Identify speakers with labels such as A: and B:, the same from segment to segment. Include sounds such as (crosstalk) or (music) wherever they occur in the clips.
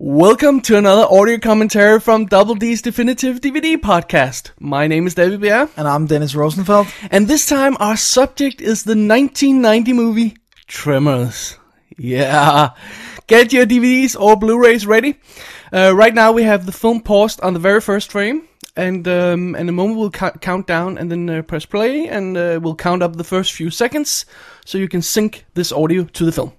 A: Welcome to another audio commentary from Double D's Definitive DVD podcast. My name is David Bier,
B: And I'm Dennis Rosenfeld.
A: and this time our subject is the 1990 movie Tremors. Yeah. Get your DVDs or Blu-rays ready. Uh, right now we have the film paused on the very first frame, and um, in a moment we'll cou- count down and then uh, press play, and uh, we'll count up the first few seconds so you can sync this audio to the film.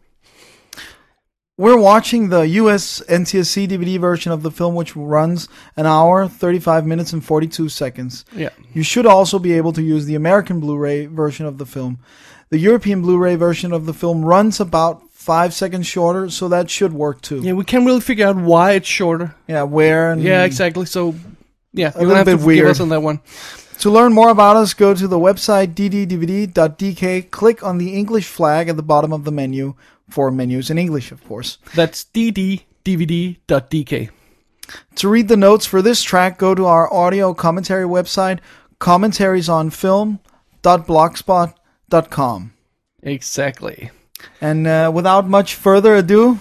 B: We're watching the US NTSC DVD version of the film, which runs an hour, 35 minutes, and 42 seconds.
A: Yeah.
B: You should also be able to use the American Blu ray version of the film. The European Blu ray version of the film runs about five seconds shorter, so that should work too.
A: Yeah, we can't really figure out why it's shorter.
B: Yeah, where and
A: Yeah, exactly. So, yeah,
B: Mm. A
A: you're
B: little
A: gonna have
B: bit
A: to forgive
B: weird.
A: us on that one.
B: To learn more about us, go to the website dddvd.dk, click on the English flag at the bottom of the menu for menus in English, of course.
A: That's dddvd.dk.
B: To read the notes for this track, go to our audio commentary website, commentariesonfilm.blogspot.com.
A: Exactly.
B: And uh, without much further ado,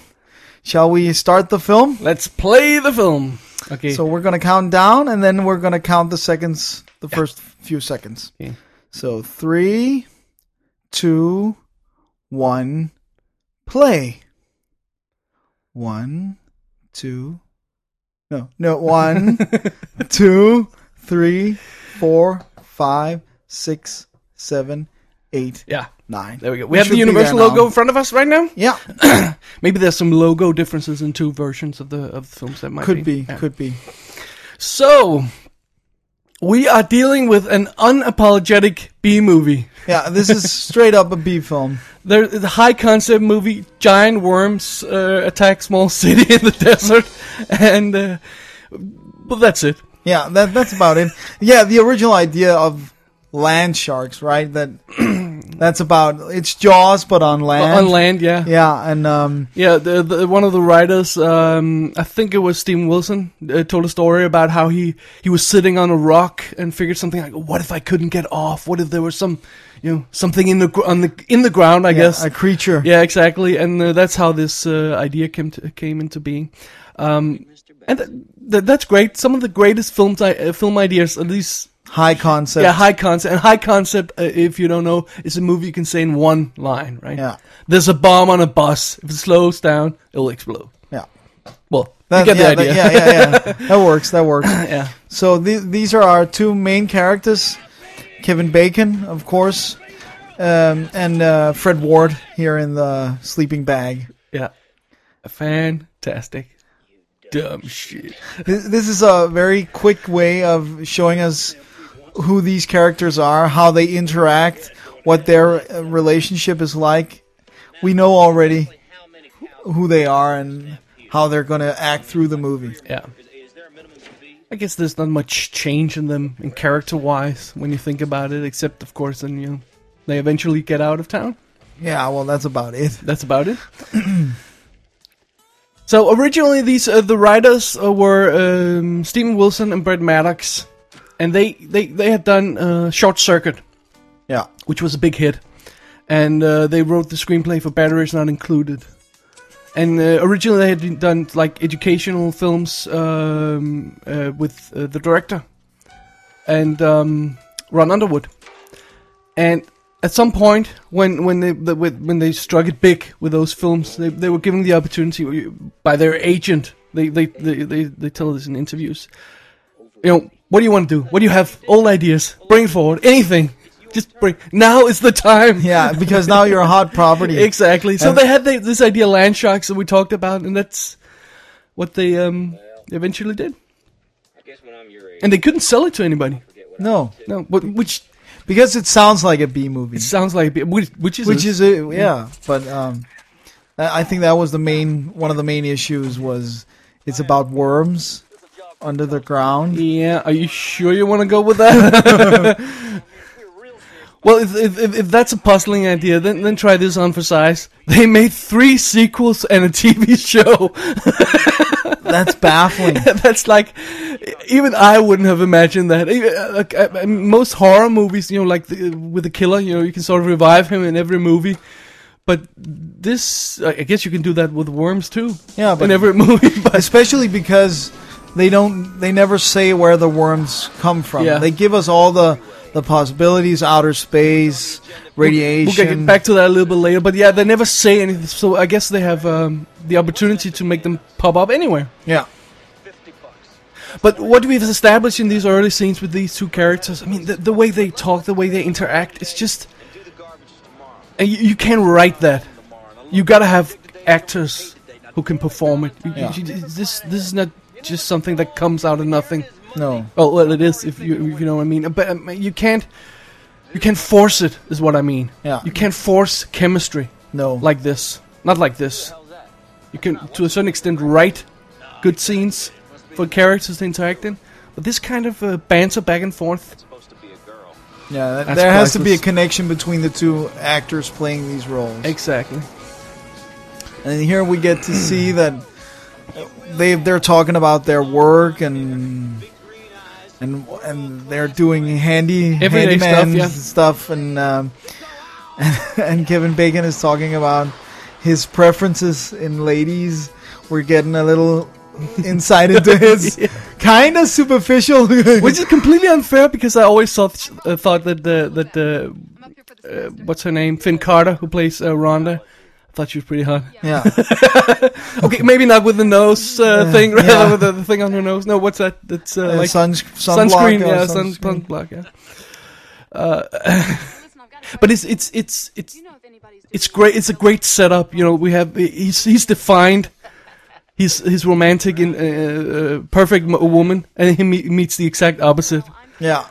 B: shall we start the film?
A: Let's play the film. Okay.
B: So we're going to count down and then we're going to count the seconds, the first few seconds.
A: Okay.
B: So three, two, one, play. One, two, no,
A: (laughs)
B: no, one, two, three, four, five, six, seven, eight,
A: yeah,
B: nine.
A: there we go. We, have the Universal
B: should be there
A: logo in
B: now.
A: front of us right now. (coughs)
B: Yeah,
A: Maybe there's some logo differences in two versions of the of the films that might
B: could be,
A: Yeah.
B: could be.
A: So, we are dealing with an unapologetic B movie.
B: Yeah, this is straight up a B film.
A: There, the high concept movie, giant worms uh, attack small (laughs) city in the desert, and uh, well, that's it.
B: Yeah, that that's about it. Yeah, the original idea of land sharks, right? That (clears throat) that's about it's Jaws but on land.
A: on land, yeah, yeah.
B: Yeah, and um,
A: the, the, one of the writers, um, I think it was Steven Wilson, uh, told a story about how he he was sitting on a rock and figured something like, "What if I couldn't get off? What if there was some, you know, something in the gr- on the in the ground?" I
B: yeah,
A: guess.
B: a creature.
A: yeah, exactly. And uh, that's how this uh, idea came to, came into being. Um, and th- th- that's great. Some of the greatest films I, uh, film ideas, at least
B: high concept.
A: yeah, high concept. And high concept, uh, if you don't know, is a movie you can say in one line, right?
B: Yeah.
A: There's a bomb on a bus. If it slows down, it'll explode.
B: yeah.
A: Well,
B: That-
A: you get
B: yeah,
A: the idea.
B: That, yeah, yeah, yeah. that works. That
A: (laughs)
B: works.
A: yeah.
B: So the, these are our two main characters, Kevin Bacon, of course, um, and uh, Fred Ward here in the sleeping bag.
A: Yeah. Fantastic. Dumb shit.
B: This, this is a very quick way of showing us who these characters are, how they interact, what their uh, relationship is like. We know already who they are and how they're going to act through the movie.
A: Yeah. I guess there's not much change in them, in character wise, when you think about it, except, of course, then, you know, they eventually get out of town.
B: Yeah, well, that's about it.
A: That's about it. (clears throat) so originally, these uh, the writers uh, were um, Stephen Wilson and Brett Maddox, and they they they had done uh, Short Circuit,
B: Yeah.
A: which was a big hit, and uh, they wrote the screenplay for Batteries Not Included. And uh, originally, they had done like educational films um, uh, with uh, the director and um, Ron Underwood. And at some point, when when they the, with- when they struck it big with those films, they, they were given the opportunity uh, by their agent. They they, they, they they tell us in interviews, you know, what do you want to do? What do you have? Old ideas, bring it forward, anything. Just bring. Now is the time.
B: Yeah, because now you're a hot (laughs) property.
A: (laughs) exactly. So
B: And-
A: they had the, this idea, land sharks, that we talked about, and that's what they um eventually did.
C: I guess when I'm your age,
A: And they couldn't sell it to anybody.
B: no,
A: No, but which
B: because it sounds like a B movie,
A: sounds like which, which is
B: which is a, yeah, but um, I I think that was the main one of the main issues was it's about worms under the ground.
A: Yeah, are you sure you want to go with that? (laughs) well, if, if, if, if that's a puzzling idea, then, then try this on for size. They made three sequels and a TV show. (laughs)
B: That's baffling.
A: that's like, even I wouldn't have imagined that. Even, uh, like, uh, uh, most horror movies, you know, like the, with the killer, you know, you can sort of revive him in every movie. But this, I I guess you can do that with worms too.
B: Yeah, but
A: in every (laughs) movie. But
B: especially because they don't they never say where the worms come from.
A: Yeah.
B: They give us all the the possibilities, outer space,
A: we'll
B: radiation.
A: get back to that a little bit later. But yeah, they never say anything, so I guess they have um, the opportunity to make them pop up anywhere.
B: Yeah.
A: But what we've established in these early scenes with these two characters, I mean, the, the way they talk, the way they interact, it's just. And you, you can't write that. You gotta have actors who can perform it. You- you-
B: Yeah.
A: you- this, this is not just something that comes out of nothing.
B: No.
A: Well, well, it is if you if you know what I mean. But um, you can't you can't force it is what I mean.
B: Yeah.
A: You can't force chemistry
B: No.
A: like this. Not like this. You can to a certain extent write good scenes for characters to interact in, but this kind of uh, banter back and forth.
B: yeah, that-
A: That's
B: there has to be a
A: priceless.
B: connection between the two actors playing these roles.
A: Exactly.
B: and here we get to see that they they're talking about their work and and and they're doing handy
A: Everyday
B: handyman
A: stuff, yeah.
B: stuff and um, (laughs) and Kevin Bacon is talking about his preferences in ladies. We're getting a little insight
A: (laughs)
B: into his kind of superficial.
A: Which is completely unfair because I always thought uh, thought that the that the uh, what's her name Finn Carter who plays uh, Rhonda. I thought she was pretty hot.
B: (laughs) yeah,
A: Okay, maybe not with the nose uh,
B: Yeah.
A: thing, (laughs) rather
B: Yeah.
A: with the, the thing on her nose. No, what's that? That's uh,
B: Uh,
A: (laughs) like
B: sun, sunblock
A: sunscreen.
B: or
A: Yeah, sun,
B: sunscreen.
A: sunblock. Yeah. Uh, but it's it's it's it's it's great. It's a great setup. You know, we have he's he's defined. He's he's romantic and uh, uh, perfect m- woman, and he me- meets the exact opposite.
B: Yeah.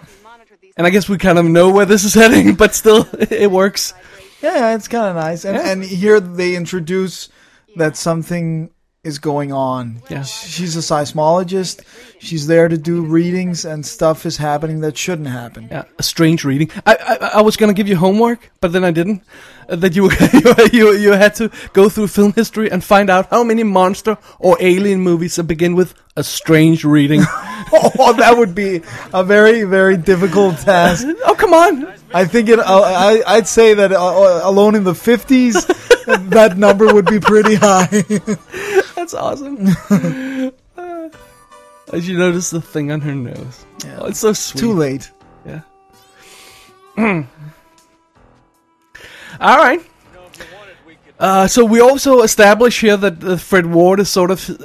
A: And I guess we kind of know where this is (laughs) heading, but still, it works.
B: Yeah, it's kind of nice. And,
A: Yeah.
B: and here they introduce that something is going on.
A: Yeah.
B: She's a seismologist. She's there to do readings, and stuff is happening that shouldn't happen. (laughs)
A: Yeah, a strange reading. I, I I was gonna give you homework, but then I didn't. Uh, that you (laughs) you you had to go through film history and find out how many monster or alien movies that begin with a strange reading. (laughs)
B: oh, that would be a very, very difficult task.
A: oh come on!
B: I think it. uh, I, I- I'd say that uh, uh, alone in the fifties, that number would be pretty high. (laughs)
A: That's awesome. (laughs) uh, as you notice the thing on her nose. Oh, it's so sweet.
B: Too late.
A: Yeah. (clears throat) All right. Uh, so we also establish here that uh, Fred Ward is sort of uh,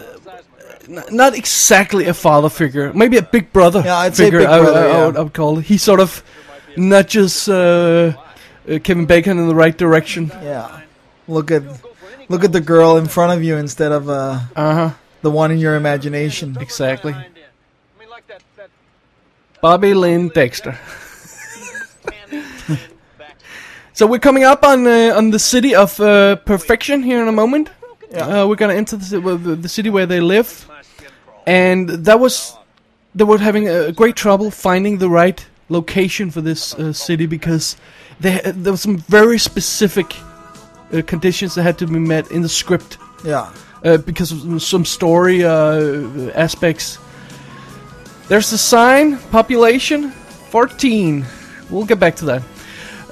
A: n- not exactly a father figure, maybe a big brother
B: Yeah, I'd say
A: figure.
B: big
A: I- I-
B: brother,
A: I,
B: yeah.
A: would, I would call it. He sort of nudges uh, uh, Kevin Bacon in the right direction.
B: Yeah. Look at, look at the girl in front of you instead of uh,
A: Uh huh.
B: the one in your imagination.
A: Exactly. Bobby Lynn Dexter. so we're coming up on uh, on the city of uh, perfection here in a moment. Uh, we're gonna enter the, ci- well, the, the city where they live, and that was they were having uh, great trouble finding the right location for this uh, city because they, there were some very specific uh, conditions that had to be met in the script
B: Yeah.
A: uh, because of some story uh, aspects. There's the sign, population 14. We'll get back to that.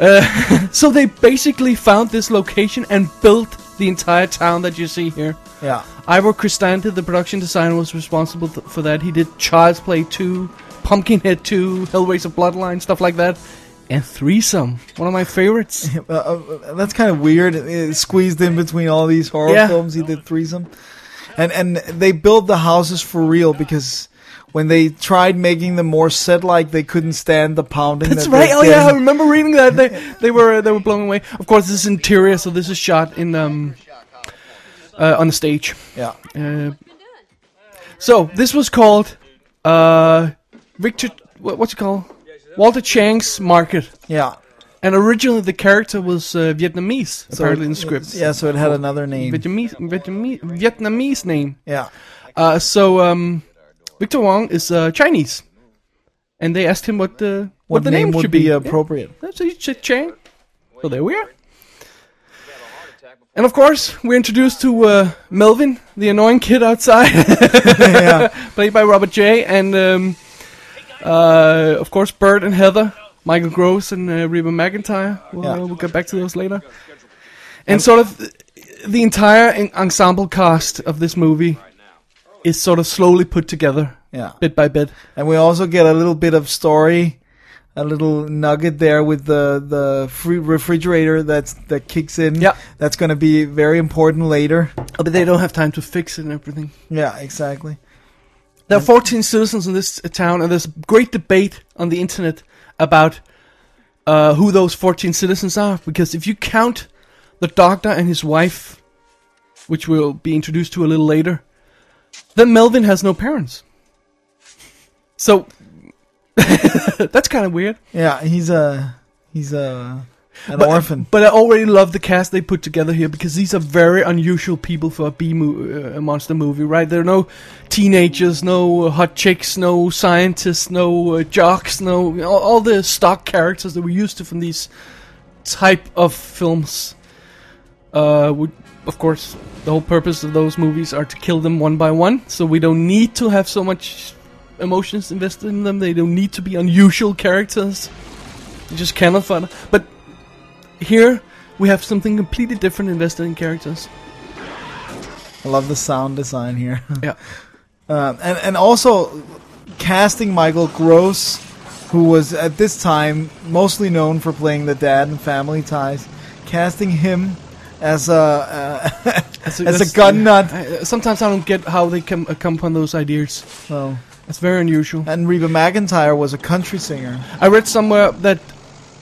A: Uh, (laughs) so they basically found this location and built the entire town that you see here.
B: Yeah.
A: Ivor Cristante, the production designer, was responsible th- for that. He did Child's Play 2, Pumpkinhead 2, Hellraiser Bloodline, stuff like that. And Threesome, one of my favorites.
B: Uh, uh, that's kind of weird. uh, squeezed in between all these horror
A: Yeah.
B: films, he did threesome, and and they built the houses for real because when they tried making them more set-like, they couldn't stand the pounding.
A: That's
B: that
A: right.
B: they
A: Oh yeah, I
B: did.
A: remember reading that. They they were uh, they were blown away. Of course, this is interior, so this is shot in um uh, on the stage.
B: yeah,
A: Uh, so this was called uh Victor. What, what's it called? Walter Chang's Market.
B: yeah.
A: And originally, the character was uh, Vietnamese,
B: So
A: apparently in the
B: it-
A: script.
B: Yeah, so it had another name.
A: Vietnamese, Vietnamese, Vietnamese name.
B: Yeah,
A: Uh, so um, Victor Wong is uh, Chinese, and they asked him what uh, what,
B: what
A: the
B: name,
A: name,
B: would
A: should
B: be,
A: be Yeah.
B: appropriate?
A: That's a chit chain. So there we are. And of course, we're introduced to uh, Melvin, the annoying kid (laughs) outside,
B: yeah,
A: (laughs) played by Robert J. And um, uh, of course, Bert and Heather, Michael Gross and uh, Reba McIntyre. We'll,
B: Yeah.
A: we'll get back to those later. and sort of the entire en- ensemble cast of this movie is sort of slowly put together,
B: Yeah.
A: bit by bit.
B: And we also get a little bit of story, a little nugget there with the the free refrigerator that's that kicks in.
A: Yeah.
B: That's going to be very important later.
A: Oh, But they don't have time to fix it and everything.
B: Yeah, exactly.
A: There are 14 citizens in this uh, town, and there's great debate on the internet about uh, who those 14 citizens are. Because if you count the doctor and his wife, which we'll be introduced to a little later, then Melvin has no parents. So (laughs) that's kind of weird.
B: Yeah, he's a he's a an
A: But-
B: orphan.
A: But I already love the cast they put together here because these are very unusual people for a B mo- uh, a monster movie, right? There are no teenagers, no uh, hot chicks, no scientists, no uh, jocks, no all, all the stock characters that we're used to from these type of films. Uh, would of course the whole purpose of those movies are to kill them one by one, so we don't need to have so much emotions invested in them. They don't need to be unusual characters. You just cannot find. But here we have something completely different invested in characters.
B: I love the sound design here. (laughs)
A: Yeah.
B: Um, and and also casting Michael Gross, who was at this time mostly known for playing the dad in Family Ties, casting him as a uh,
A: As
B: as
A: that's-
B: a gun nut.
A: I, uh, sometimes I don't get how they come uh, come upon those ideas.
B: So
A: It's very unusual.
B: and Reba McIntyre was a country singer.
A: I read somewhere that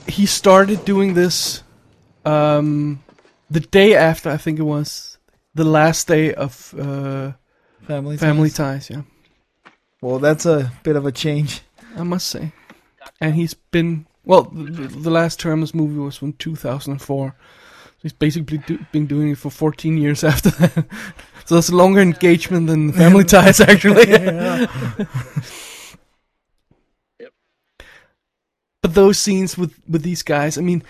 A: he started doing this um, the day after I think it was the last day of uh,
B: Family
A: Family
B: Ties.
A: Ties. Yeah,
B: Well, that's a bit of a change.
A: I must say. And he's been well. The, the last term this movie was from 2004. So he's basically do, been doing it for 14 years (laughs) after that. so that's a longer engagement than Family Ties
B: (laughs)
A: actually. But those scenes with with these guys, I mean,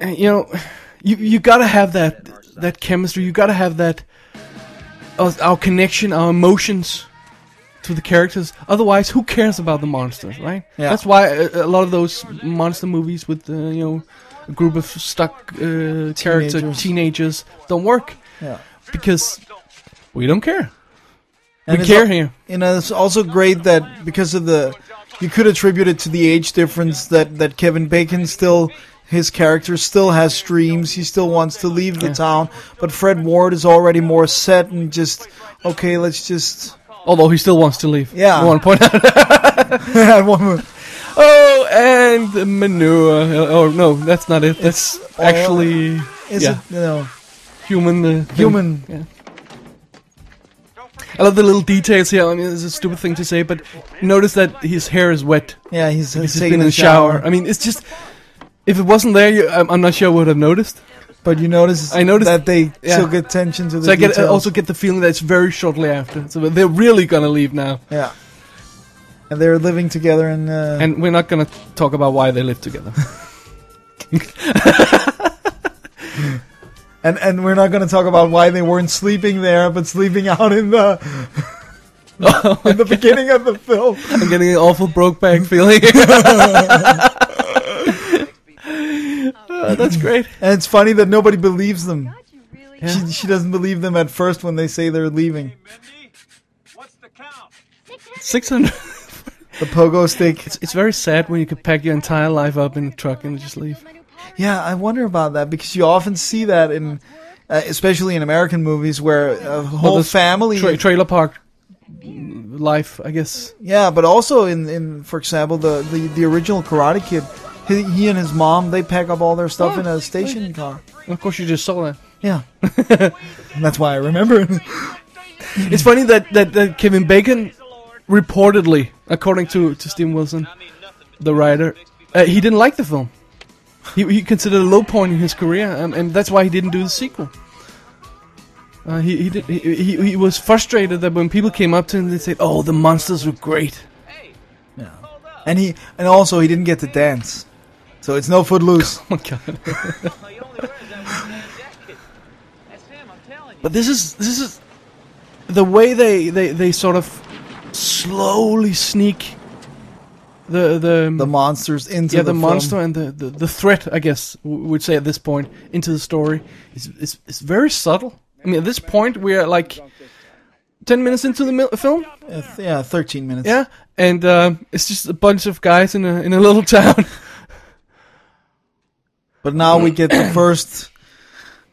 A: uh, you know, you you gotta have that that chemistry. You gotta have that uh, our connection, our emotions to the characters. Otherwise, who cares about the monsters, right?
B: Yeah.
A: That's why uh, a, a lot of those monster movies with uh, you know a group of stuck uh, character
B: Teenagers.
A: teenagers don't work
B: Yeah.
A: because we don't care.
B: And
A: we
B: it's
A: care
B: al-
A: here.
B: And it's also great that because of the, you could attribute it to the age difference that that Kevin Bacon still, his character still has dreams. He still wants to leave the
A: Yeah.
B: town, but Fred Ward is already more set and just okay. Let's just (laughs)
A: Although he still wants to leave.
B: Yeah.
A: I want to point out. (laughs)
B: yeah,
A: Oh, and the manure. Uh, Oh no, that's not it. That's actually
B: is
A: yeah,
B: it, you know,
A: human. Uh, thing.
B: human.
A: Yeah. I love the little details here. I mean, it's a stupid thing to say, but notice that his hair is wet.
B: Yeah, he's,
A: He's
B: he's
A: just been
B: taking
A: in
B: a
A: the shower.
B: shower.
A: I mean, it's just. If it wasn't there, you, I'm, I'm not sure I would have noticed.
B: But you notice,
A: I noticed-
B: that they
A: yeah.
B: took attention to the
A: So I get I
B: details.
A: also get the feeling that it's very shortly after. So they're really gonna leave now,
B: yeah, and they're living together in. Uh,
A: and we're not gonna talk about why they live together.
B: And and we're not going to talk about why they weren't sleeping there, but sleeping out
A: (laughs)
B: in the in the beginning of the film.
A: I'm getting an awful brokeback feeling. Uh, that's great.
B: And it's funny that nobody believes them.
D: God, you really
B: She, she doesn't believe them at first when they say they're leaving.
E: Mindy, what's the count?
A: Six hundred.
B: The pogo stick.
A: It's, it's very sad when you could pack your entire life up in a truck and just leave.
B: Yeah, I wonder about that because you often see that in, uh, especially in American movies, where a whole
A: this
B: family.
A: Tra- trailer park mm, life, I guess.
B: yeah, but also in, in for example the, the, the original Karate Kid, he, he and his mom they pack up all their stuff in a station car.
A: And of course, you just saw that.
B: Yeah, And that's why I remember. it.
A: It's funny that, that, that Kevin Bacon, reportedly, according to, to Steve Wilson, the writer, uh, he didn't like the film. He, he considered it a low point in his career, and, and that's why he didn't do the sequel. Uh, he, he, did, he, he, he was frustrated that when people came up to him, they said, Oh, the monsters were great. (laughs)
B: And he and also he didn't get to dance. So it's no footloose.
A: Oh my god.
E: Well, he only wears that one damn jacket. That's him, I'm telling you.
A: But this is this is the way they they, they sort of slowly sneak the the,
B: the monsters into
A: yeah
B: the,
A: the,
B: film.
A: monster and the, the the threat I guess we would say at this point into the story is is is very subtle. I mean, at this point we are like ten minutes into the mil- film,
B: Uh, th- yeah, thirteen minutes.
A: yeah, and um, it's just a bunch of guys in a in a little (laughs) town.
B: But now we get the first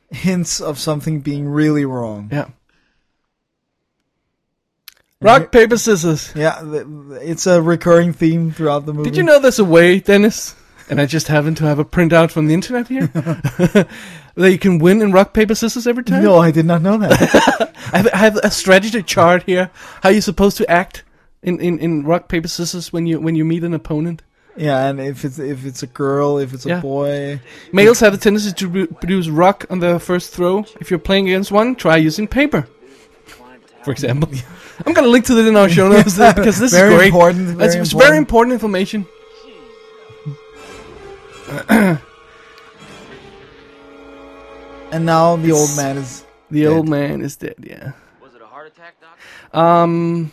B: hints of something being really wrong.
A: yeah. Rock paper scissors.
B: Yeah, th- th- it's a recurring theme throughout the movie.
A: Did you know there's a way, Dennis? And I just happen to have a printout from the internet here (laughs) that you can win in rock paper scissors every time.
B: No, I did not know that. (laughs)
A: I have, I have a strategy chart here. How you're supposed to act in, in, in rock paper scissors when you when you meet an opponent.
B: yeah, and if it's if it's a girl, if it's a
A: Yeah.
B: boy,
A: Males have a tendency to re- produce rock on their first throw. If you're playing against one, try using paper. For example, (laughs) I'm gonna link to it in our show
B: (laughs)
A: notes uh, because this
B: Very
A: is great.
B: important, very
A: it's, it's very important
B: important.
A: information.
B: and now the old man is.
A: The
B: Dead.
A: old man is dead. Yeah.
E: Was it a heart attack, Doc?
A: Um,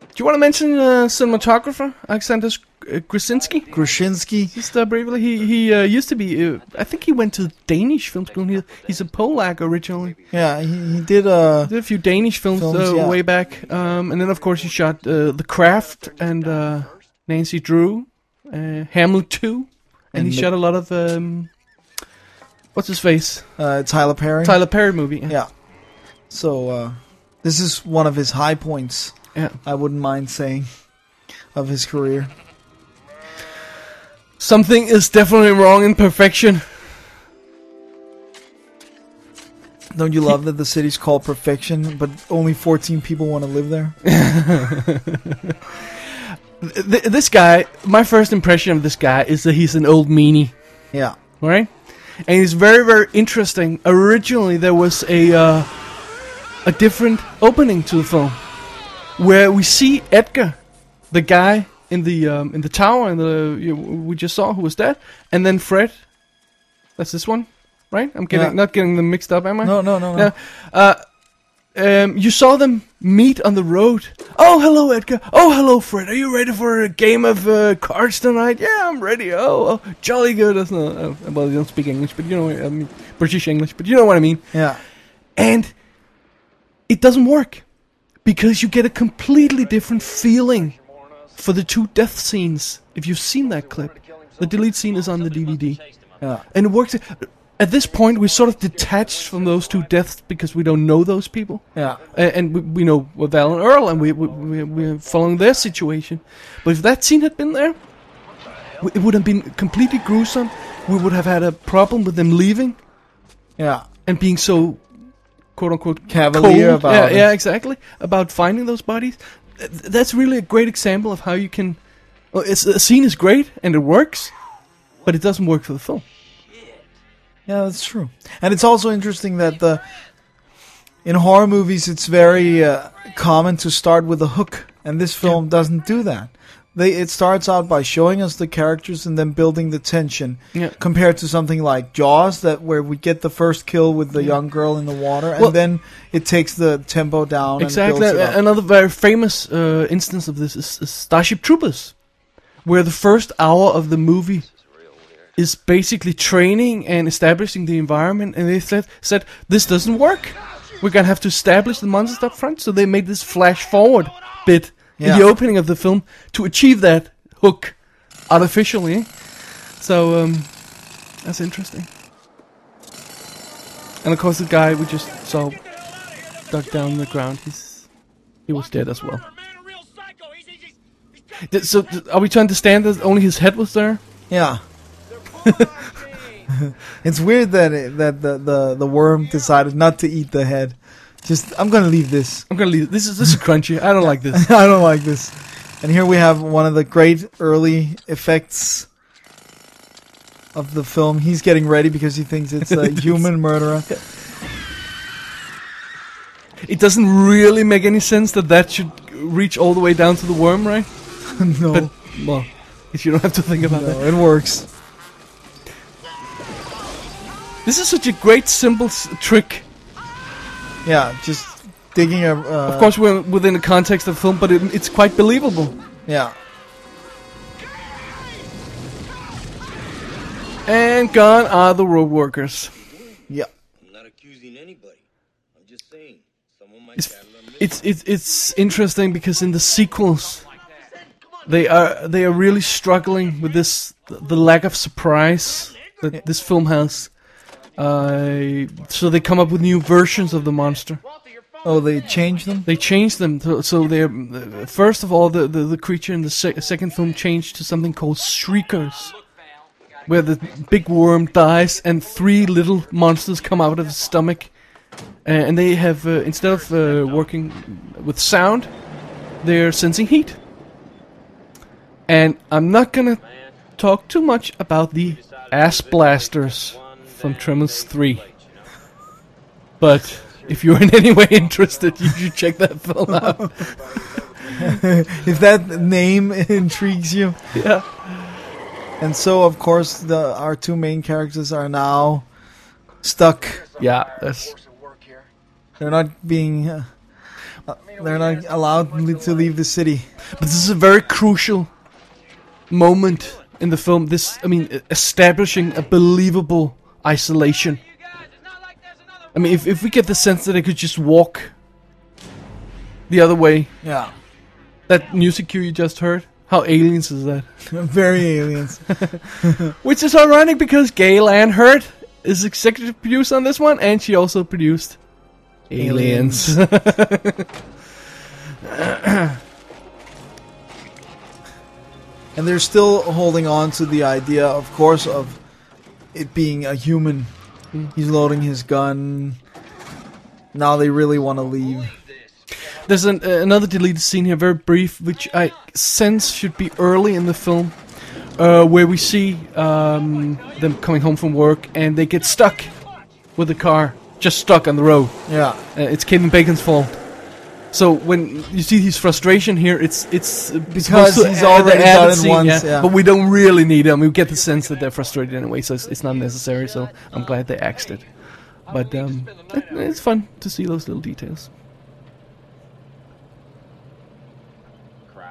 A: do you want to mention uh, cinematographer Alexander Sk- uh, Krasinski?
B: Grushinsky.
A: Just uh, briefly, he he uh, used to be. Uh, I think he went to Danish film school. and He, he's a Polak originally.
B: Yeah, he, he did uh
A: Did a few Danish films,
B: Films,
A: uh,
B: yeah.
A: way back, um, and then of course he shot uh, The Craft and uh, Nancy Drew, uh, Hamlet Two, and,
B: And
A: he
B: the-
A: shot a lot of um, what's his face
B: uh, Tyler Perry.
A: Tyler Perry movie.
B: Yeah. So uh, this is one of his high points.
A: yeah.
B: I wouldn't mind saying of his career.
A: Something is definitely wrong in Perfection.
B: Don't you love that the city's called perfection, but only 14 people want to live there?
A: Th- this guy, my first impression of this guy is that he's an old meanie.
B: Yeah.
A: right? And it's very, very interesting. Originally, there was a uh, a different opening to the film, where we see Edgar, the guy in the um, in the tower, and the you know, we just saw who was dead, and then Fred. That's this one, right? I'm getting
B: Yeah.
A: not getting them mixed up, am I?
B: No, no, no, no.
A: Yeah. Uh, um, you saw them meet on the road. Oh, hello, Edgar. Oh, hello, Fred. Are you ready for a game of uh, cards tonight? Yeah, I'm ready. Oh, oh jolly good. That's not, uh, well, they don't speak English, but you know, I mean, British English, but you know what I mean.
B: Yeah.
A: And it doesn't work because you get a completely different feeling for the two death scenes. If you've seen that clip, the delete scene is on the DVD.
B: Yeah.
A: And it works. At this point, we're sort of detached from those two deaths because we don't know those people.
B: Yeah.
A: A- And we, we know with Val and Earl, and we, we, we, we're following their situation. But if that scene had been there, w- it would have been completely gruesome. We would have had a problem with them leaving
B: Yeah.
A: and being so, quote unquote,
B: Cavalier
A: cold.
B: about
A: yeah,
B: it.
A: yeah, exactly. About finding those bodies. Th- That's really a great example of how you can. Well, it's, a scene is great and it works, but it doesn't work for the film.
B: Yeah, that's true. And it's also interesting that the in horror movies it's very uh, common to start with a hook, and this film doesn't do that. They it starts out by showing us the characters and then building the tension.
A: Yeah.
B: Compared to something like Jaws, that where we get the first kill with the young girl in the water, and
A: Well-
B: then it takes the tempo down.
A: Exactly.
B: And builds it up.
A: Another very famous uh, instance of this is, is Starship Troopers, where the first hour of the movie is basically training and establishing the environment, and they said, said this doesn't work. We're gonna have to establish the monsters up front, so they made this flash forward bit in the
B: Yeah.
A: opening of the film to achieve that hook artificially. So um, that's interesting. And of course, the guy we just saw dug down in the ground. He's he was dead as well. Th- So th- are we to understand that only his head was there?
B: Yeah.
A: (laughs)
B: it's weird that it, that the, the the worm decided not to eat the head. Just I'm gonna leave this. (laughs)
A: I'm gonna leave. This is this is crunchy. I don't like this.
B: I don't like this. And here we have one of the great early effects of the film. He's getting ready because he thinks it's
A: (laughs)
B: a human murderer. (laughs)
A: It doesn't really make any sense that that should reach all the way down to the worm, right?
B: no,
A: But well, if you don't have to think about that.
B: no, it works.
A: This is such a great simple s- trick.
B: Yeah, just digging a. Uh,
A: Of course, we're within the context of the film, but it, it's quite believable.
B: Yeah.
A: And gone are the road workers.
B: Yeah.
C: I'm not accusing anybody. I'm just saying, someone might
A: It's
C: battle a
A: it's it's, it's interesting because in the sequels, they are they are really struggling with this the lack of surprise that this film has. Uh, so they come up with new versions of the monster.
B: Oh, they changed them. (laughs)
A: They changed them. To, so they first of all the, the, the creature in the se- second film changed to something called shriekers, where the big worm dies and three little monsters come out of his stomach, Uh, and they have uh, instead of uh, working with sound, they're sensing heat. And I'm not gonna talk too much about the ass blasters from Tremors Three. But if you're in any way (laughs) interested, you should check that film out.
B: If that name (laughs) intrigues you.
A: yeah.
B: And so, of course, the our two main characters are now stuck.
A: Yeah, that's
B: They're not being. Uh, uh, they're not allowed le- to leave the city.
A: but this is a very crucial moment in the film. This I mean e- establishing a believable isolation. I mean if if we get the sense that they could just walk the other way.
B: Yeah. (laughs)
A: That music cue you just heard, how aliens is that?
B: Very aliens.
A: Which is ironic because Gail Ann Hurd is executive producer on this one, and she also produced Aliens.
B: And they're still holding on to the idea, of course, of it being a human. He's loading his gun. Now they really want to leave.
A: There's an, uh, another deleted scene here, very brief, which I sense should be early in the film, uh, where we see um, them coming home from work and they get stuck with the car, just stuck on the road.
B: Yeah.
A: Uh, it's Kevin Bacon's fault. So when you see his frustration here, it's it's uh,
B: Because he's already done it once, yeah.
A: But we don't really need him. We get the sense that they're frustrated anyway, so it's, it's not necessary. So I'm glad they axed it. But um, it- it's fun to see those little details.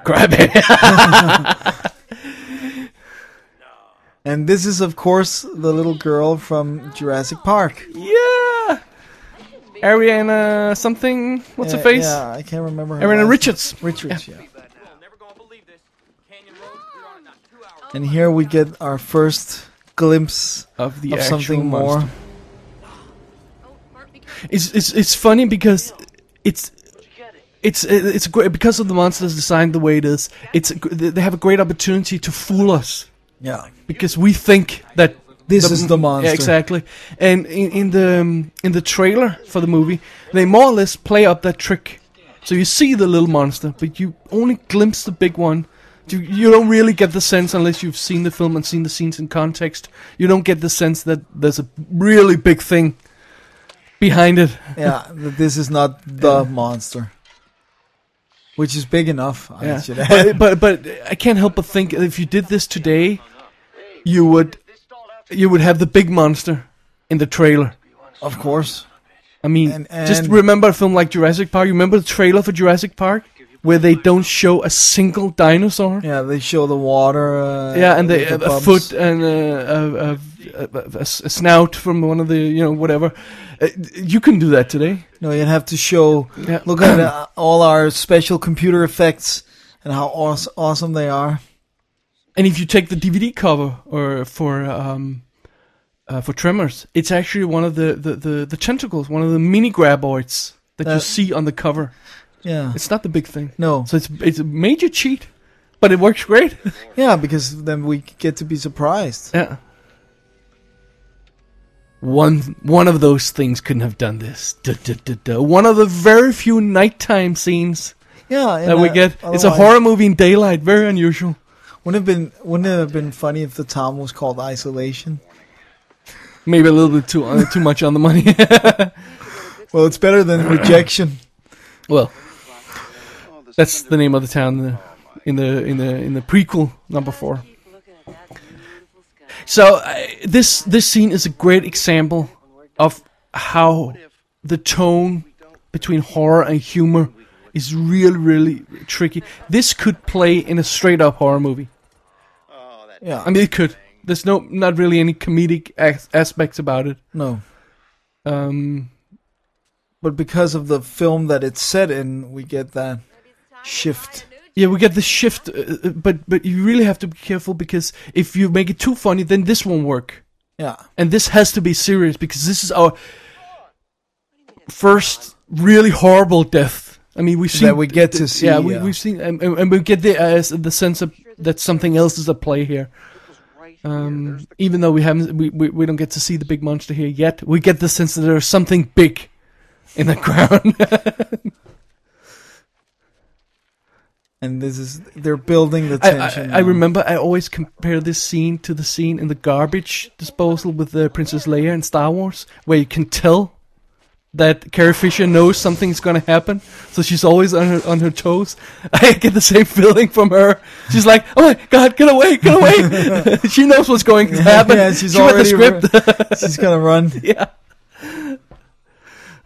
A: Grab it.
B: And this is, of course, the little girl from Jurassic Park.
A: (laughs) yeah. Ariana something. What's her
B: Uh,
A: face?
B: Yeah, I can't remember. her
A: Ariana
B: last-
A: Richards.
B: Richards, yeah.
E: Never gonna believe this. Canyon Road, we're on in about two hours.
B: And here we get our first glimpse
A: Of the
B: of
A: actual
B: something more.
A: monster.
F: Oh,
A: (laughs) It's it's it's funny because it's it's it's great because of the monsters designed the way it is. It's a gr- they have a great opportunity to fool us
B: Yeah.
A: because we think that
B: This is the monster.
A: Yeah, exactly. And in, in the um, in the trailer for the movie, they more or less play up that trick. So you see the little monster, but you only glimpse the big one. You, you don't really get the sense unless you've seen the film and seen the scenes in context. You don't get the sense that there's a really big thing behind it.
B: yeah, th- this is not the monster, which is big enough. I
A: Yeah.
B: should add.
A: but, but but I can't help but think if you did this today, you would you would have the big monster in the trailer.
B: of course.
A: I mean,
B: And-
A: just
B: and-
A: remember a film like Jurassic Park. You remember the trailer for Jurassic Park where they don't show a single dinosaur.
B: Yeah, they show the water. Uh,
A: Yeah, and they,
B: with the
A: a
B: bumps.
A: foot and a, a, a, a, a s- a snout from one of the you know whatever. Uh, You couldn't do that today.
B: No, you'd have to show.
A: Yeah.
B: Look at uh, all our special computer effects and how aws- awesome they are.
A: And if you take the DVD cover or for um, uh, for Tremors, it's actually one of the, the, the, the tentacles, one of the mini graboids that you
B: Uh,
A: see on the cover.
B: Yeah.
A: It's not the big thing.
B: No.
A: So it's it's a major cheat, but it works great. (laughs)
B: Yeah, because then we get to be surprised.
A: yeah. One one of those things couldn't have done this. Duh, duh, duh, duh. One of the very few nighttime scenes
B: Yeah, and,
A: that we
B: uh,
A: get. It's a
B: otherwise-
A: horror movie in daylight. Very unusual.
B: Wouldn't have been wouldn't it have been funny if the Tom was called Isolation?
A: Maybe a little bit too uh, too much on the money. (laughs)
B: Well, it's better than Rejection.
A: Well, that's the name of the town in the in the in the, in the prequel number four. So uh, this this scene is a great example of how the tone between horror and humor is really really tricky. This could play in a straight up horror movie.
B: Yeah,
A: I mean, it could. There's no not really any comedic as- aspects about it.
B: No,
A: Um,
B: but because of the film that it's set in, we get that shift.
A: yeah, we get the shift, uh, uh, but but you really have to be careful because if you make it too funny, then this won't work.
B: Yeah,
A: And this has to be serious because this is our first really horrible death. I mean, we've seen
B: that we get to see.
A: yeah, we, we've seen and, and, and we get the uh, s- the sense of that something else is at play here. Um, even though we haven't, we, we we don't get to see the big monster here yet. We get the sense that there's something big in the (laughs) ground.
B: and this is they're building the
A: I,
B: tension.
A: I, I
B: now.
A: remember I always compare this scene to the scene in the garbage disposal with uh, Princess Leia in Star Wars, where you can tell that Carrie Fisher knows something's gonna happen, so she's always on her on her toes. (laughs) I get the same feeling from her. She's like, "Oh my God, get away, get
B: (laughs)
A: away!" (laughs) she knows what's going to happen.
B: yeah, she's
A: she read the
B: already
A: script. (laughs)
B: She's gonna run.
A: yeah,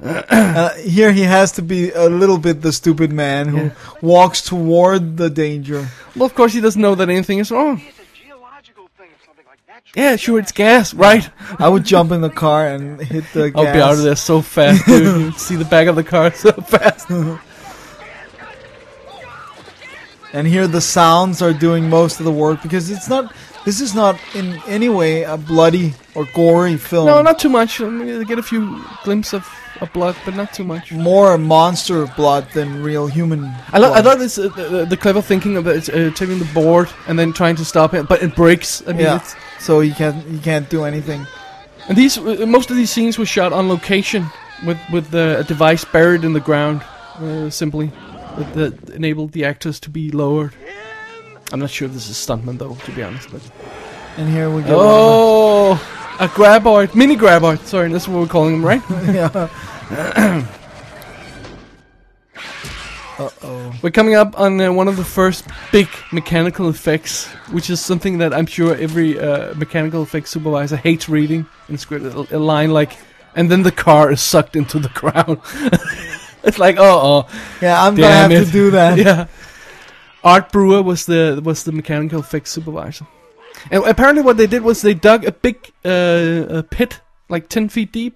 B: Uh, here he has to be a little bit the stupid man who walks toward the danger.
A: well, of course she doesn't know that anything is wrong.
D: It's a geological thing or something like that.
A: Yeah, sure, it's gas, right?
B: I would jump in the car and hit the gas.
A: I'll be out of there so fast, dude.
B: (laughs)
A: You'd see the back of the car (laughs) so fast.
B: (laughs) And here the sounds are doing most of the work because it's not. This is not in any way a bloody or gory film.
A: No, not too much. I mean, you get a few glimpses of, of blood, but not too much.
B: more monster blood than real human.
A: I, lo- I
B: blood.
A: love this uh, the, the- the clever thinking of uh, uh, taking the board and then trying to stop it, but it breaks. I mean,
B: Yeah.
A: it's,
B: So you can't you can't do anything.
A: and these uh, most of these scenes were shot on location with with uh, a device buried in the ground, uh, simply that, that enabled the actors to be lowered. I'm not sure if this is stuntman though, to be honest. But
B: And here we go.
A: oh, a graboid, mini graboid. Sorry, that's what we're calling them, right?
B: (laughs)
A: (coughs)
B: yeah. uh oh.
A: We're coming up on uh, one of the first big mechanical effects, which is something that I'm sure every uh, mechanical effects supervisor hates reading in script. A, a line like, and then the car is sucked into the (laughs) ground. it's like, oh, oh,
B: Yeah, I'm
A: Damn
B: gonna have
A: it.
B: to do
A: (laughs)
B: that.
A: yeah. Art Brewer was the was the mechanical effects supervisor, and apparently what they did was they dug a big uh, a pit like ten feet deep,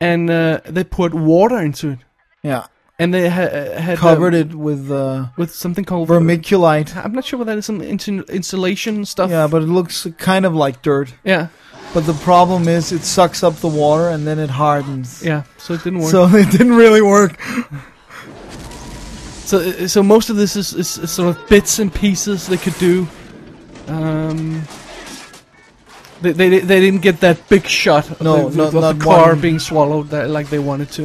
A: and uh, they poured water into it,
B: Yeah.
A: and they ha- had uh,
B: Covered it with uh,
A: with something called
B: vermiculite.
A: I'm not sure whether that is some insul- insulation stuff.
B: Yeah, but it looks kind of like dirt.
A: yeah,
B: But the problem is, it sucks up the water and then it hardens.
A: yeah. So it didn't work. So,
B: So (laughs) it didn't really work.
A: so, uh, so most of this is, is, is sort of bits and pieces they could do. Um, they, they they didn't get that big shot of
B: No,
A: the,
B: not-
A: of the
B: not
A: car
B: one.
A: being swallowed that, like they wanted to.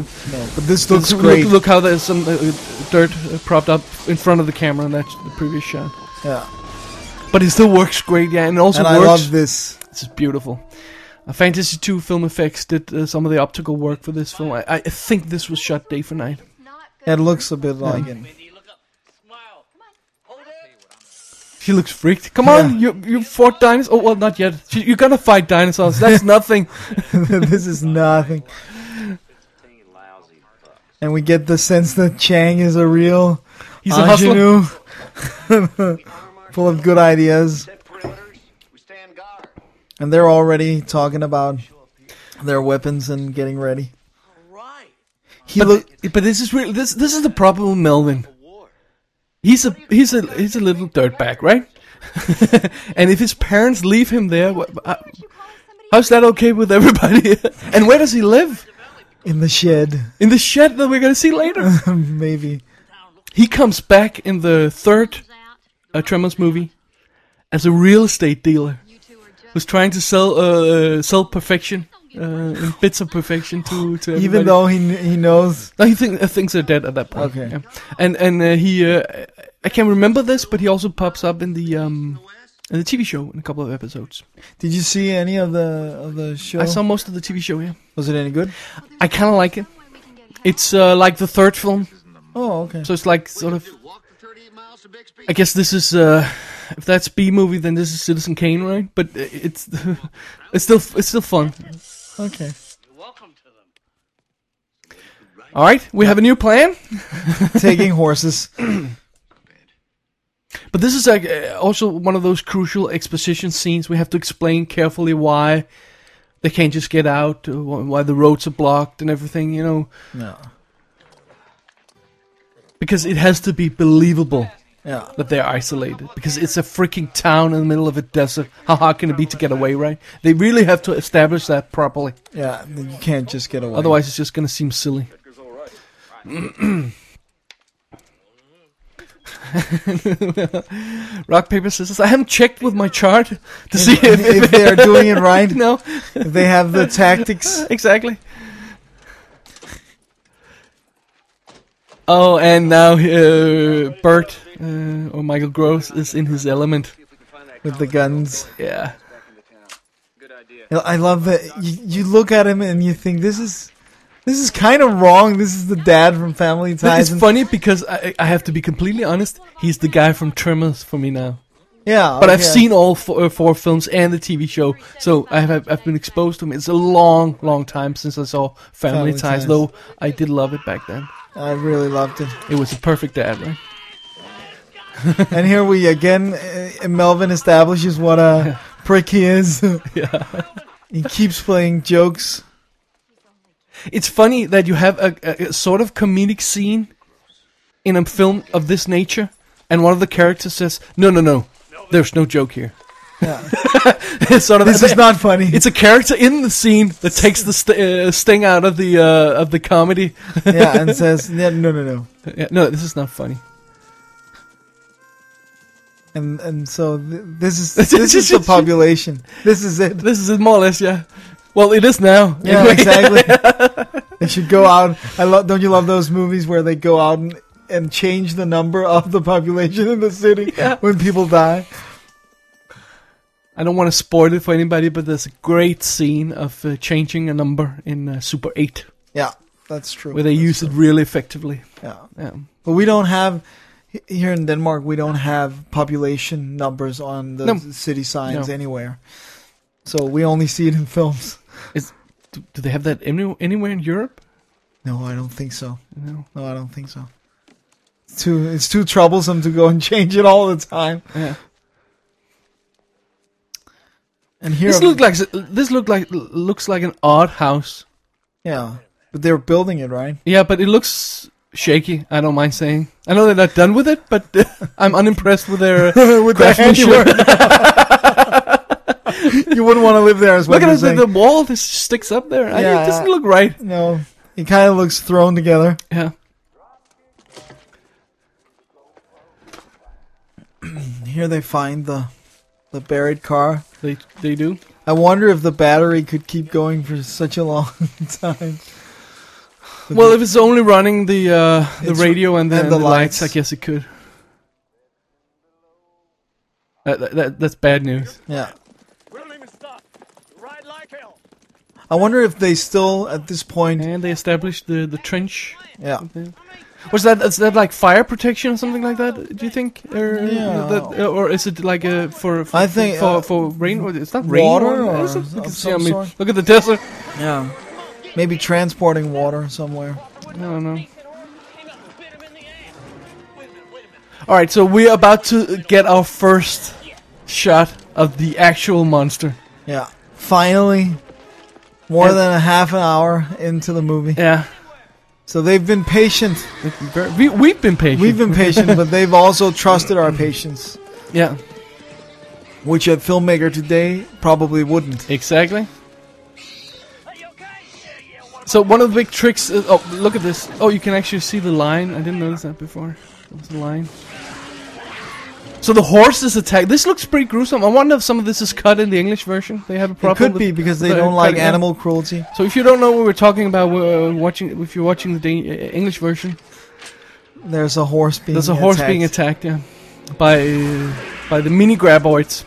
B: But this
A: So
B: looks
A: look-
B: great.
A: Look, look how there's some uh, uh, dirt uh, propped up in front of the camera in that the previous shot.
B: Yeah.
A: But it still works great, yeah, and it also
B: And I
A: works.
B: love this.
A: This is beautiful. Uh, Fantasy II Film Effects did uh, some of the optical work for this film. I, I think this was shot day for night.
B: It looks a bit like it.
E: Mindy, look up. Smile.
A: She looks freaked. Come on, you you fought dinosaurs. Oh well, not yet. She, you're gonna fight dinosaurs. (laughs) That's nothing.
B: (laughs) this is nothing. And we get the sense that Chang is a real
A: He's a hustler.
B: ingenue, (laughs) full of good ideas,
D: Set perimeters. We stand guard.
B: and they're already talking about their weapons and getting ready. He
A: But,
B: look.
A: but this is really this this is the problem with Melvin. He's a he's a he's a little dirtbag, right? (laughs) and if his parents leave him there, wha- uh, how's that okay with everybody? (laughs) and where does he live?
B: in the shed,
A: In the shed that we're gonna see later.
B: maybe.
A: He comes back in the third uh, Tremors movie as a real estate dealer who's trying to sell uh, sell perfection, uh, in bits of perfection to to everybody.
B: Even though he kn- he knows,
A: no, he think, uh, things are dead at that point.
B: Okay.
A: yeah. and and uh, he uh, I can remember this, but he also pops up in the um in the TV show in a couple of episodes.
B: did you see any of the of the show?
A: I saw most of the TV show. Yeah,
B: Was it any good?
A: I kind of like it. It's uh, like the third film,
B: Oh, okay.
A: so it's like sort of.
D: Walk the 38 miles to Bixby.
A: I guess this is uh, if that's B movie, then this is Citizen Kane, right? But i- it's (laughs) it's still it's still fun.
B: Okay.
E: Welcome to them.
A: All right, we have a new plan. (laughs)
B: Taking horses.
A: But this is like uh, also one of those crucial exposition scenes. We have to explain carefully why they can't just get out, uh, wh- why the roads are blocked, and everything. You know,
B: No.
A: because it has to be believable
B: Yeah.
A: that they're isolated. Because it's a freaking town in the middle of a desert. How hard can it be to get away, right? They really have to establish that properly.
B: Yeah. You can't just get away.
A: Otherwise, it's just gonna seem silly. (clears throat) Rock paper scissors. I haven't checked with my chart to see if,
B: (laughs) if they're doing it right,
A: (laughs) no,
B: if they have the tactics.
A: exactly. Oh, and now uh, Bert uh, or Michael Gross is in his element.
D: See if we can find that
B: With the guns,
A: Yeah,
D: back in the town.
E: Good idea.
B: I love that. You, you look at him and you think this is, this is kind of wrong. This is the dad from Family Ties.
A: it's
B: and-
A: funny because I, I have to be completely honest. He's the guy from Tremors for me now.
B: Oh, yeah,
A: But I've
B: okay.
A: seen all four, uh, four films and the TV show, so I have I've been exposed to them. It's a long, long time since I saw Family,
B: Family
A: Ties,
B: Ties.
A: though I did love it back then.
B: I really loved it.
A: It was a perfect dad, right?
B: And here we again, uh, Melvin establishes what (laughs) a prick he (laughs) is. he keeps playing jokes.
A: It's funny that you have a, a, a sort of comedic scene in a film of this nature, and one of the characters says, "No, no, no, there's no joke here." (laughs) it's sort of
B: This is not funny.
A: (laughs) It's a character in the scene that takes the st- uh, sting out of the uh, of the comedy.
B: (laughs)
A: (laughs)
B: yeah, and says, yeah, no, no, no.
A: Yeah, no, this is not funny.
B: And and so th- this (laughs) is this is the population. This is it.
A: This is it, more or less, yeah. Well, it is now.
B: (laughs) Yeah,
A: anyway.
B: exactly. they should go out. I love. Don't you love those movies where they go out and, and change the number of the population in the city when people die?
A: I don't want to spoil it for anybody, but there's a great scene of uh, changing a number in uh, Super 8
B: Yeah, that's true.
A: where they
B: That's
A: use
B: true.
A: it really effectively. Um,
B: Yeah.
A: Yeah.
B: But we don't have he- here in Denmark. We don't have population numbers on the
A: No.
B: city signs
A: No.
B: anywhere. So we only see it in films.
A: Is, do, do they have that any, anywhere in Europe?
B: No, I don't think so.
A: No.
B: No, I don't think so. It's too it's too troublesome to go and (laughs) change it all the time.
A: Yeah.
B: And here,
A: This looked like this looked like looks like an odd house.
B: yeah, but they're building it right.
A: Yeah, but it looks shaky. I don't mind saying. I know they're not done with it, but (laughs) I'm unimpressed (laughs) with their
B: With the
A: craftsmanship.
B: handiwork. (laughs) you wouldn't want to live there, is what
A: (laughs) Look
B: you're
A: at the,
B: saying.
A: the wall. This sticks up there. I-
B: Yeah.
A: it doesn't look right.
B: No, it kind of looks thrown together.
A: Yeah.
B: Here they find the the buried car.
A: They they do.
B: I wonder if the battery could keep going for such a long (laughs) time.
A: Well, if it's only running the uh, the
B: It's-
A: radio and the,
B: and
A: and
B: the
A: the lights.
B: lights.
A: I guess it could. That, that- that, that's bad news.
B: Yeah.
E: Running the stuff. Ride like hell.
B: I wonder if they still at this point.
A: And they established the, the trench.
B: Yeah.
A: Was that is that like fire protection or something like that? Do you think, or
B: Yeah.
A: that, or is it like a for, for
B: I think,
A: for,
B: uh,
A: for rain? or- It's not rain.
B: water
A: or-
B: or
A: is it?
B: of
A: Because,
B: some
A: I mean,
B: sort.
A: Look at the desert.
B: Yeah. Maybe transporting water somewhere.
A: I don't know.
E: Hang up and bit him in the ass. Wait a minute, wait a minute.
A: All right, so we're about to get our first shot of the actual monster.
B: Yeah. Finally, more
A: And-
B: than a half an hour into the movie.
A: Yeah,
B: So they've been patient.
A: we we've been patient.
B: We've been patient, but they've also trusted our patience,
A: yeah,
B: which a filmmaker today probably wouldn't.
A: exactly.
E: Hey, you okay? Yeah, yeah, what
A: So one of the big tricks. Is, oh, look at this. Oh, you can actually see the line. I didn't notice that before. There was a line. So the horse is attacked. This looks pretty gruesome. I wonder if some of this is cut in the English version. They have a
B: It
A: problem.
B: could be
A: with-
B: because they
A: with, uh,
B: don't like
A: cutting it.
B: animal cruelty.
A: So if you don't know what we're talking about, we're uh, watching. If you're watching the Dan- uh, English version,
B: There's a horse being
A: there's a horse being attacked. Yeah, by uh, by the mini graboids.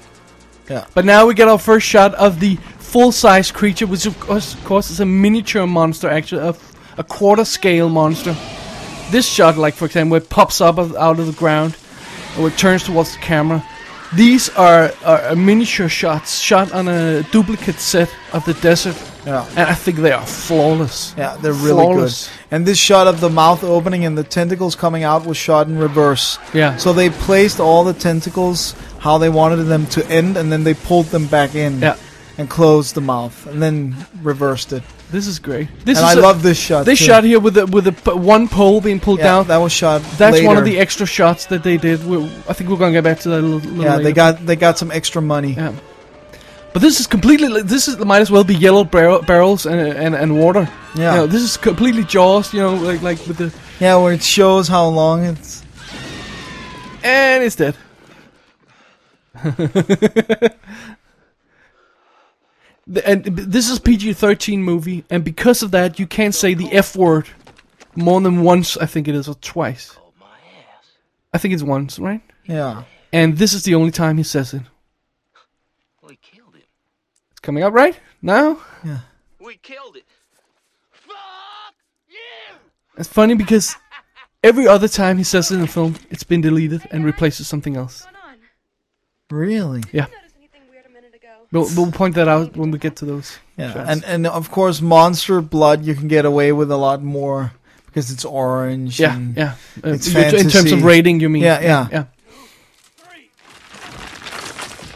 B: Yeah.
A: But now we get our first shot of the full-size creature, which of course, of course is a miniature monster, actually a, a quarter-scale monster. This shot, like for example, where it pops up of- out of the ground, or it turns towards the camera. These are, are, are miniature shots, shot on a duplicate set of the desert
B: Yeah.
A: and I think they are flawless.
B: Yeah, they're really
A: Flawless.
B: good. And this shot of the mouth opening and the tentacles coming out was shot in reverse.
A: Yeah.
B: So they placed all the tentacles how they wanted them to end, and then they pulled them back in
A: Yeah.
B: and closed the mouth, and then reversed it.
A: This is great. This
B: and I
A: is a-
B: love this shot.
A: this
B: too.
A: shot here with the with the p- one pole being pulled
B: Yeah,
A: down.
B: that was shot.
A: That's one of
B: later.
A: the extra shots that they did. we I think we're gonna get back to that a little, little
B: Yeah,
A: later.
B: they got they got some extra money.
A: Yeah. But this is completely. li- This is might as well be yellow barrel, barrels and, and and water.
B: Yeah.
A: You know, this is completely Jaws. You know, like like with the
B: Yeah, where it shows how long it's.
A: and it's dead. (laughs) The- and b- this is PG thirteen movie, and because of that, you can't say the F word more than once. I think it is or twice. I think it's once, right?
B: Yeah.
A: And this is the only time he says it.
E: We killed it.
A: It's coming up right now.
E: We killed it.
A: It's funny because every other time he says it in the film, it's been deleted and replaced with something else.
F: going on?
B: Really?
A: Yeah,
F: noticed anything weird a minute ago.
A: we'll, we'll point that out when we get to those.
B: Yeah.
A: shots.
B: And and of course, Monster Blood, you can get away with a lot more because it's orange.
A: yeah,
B: and-
A: yeah. Uh,
B: It's
A: you- in terms
B: fantasy.
A: of rating, you mean?
B: Yeah, yeah.
A: yeah.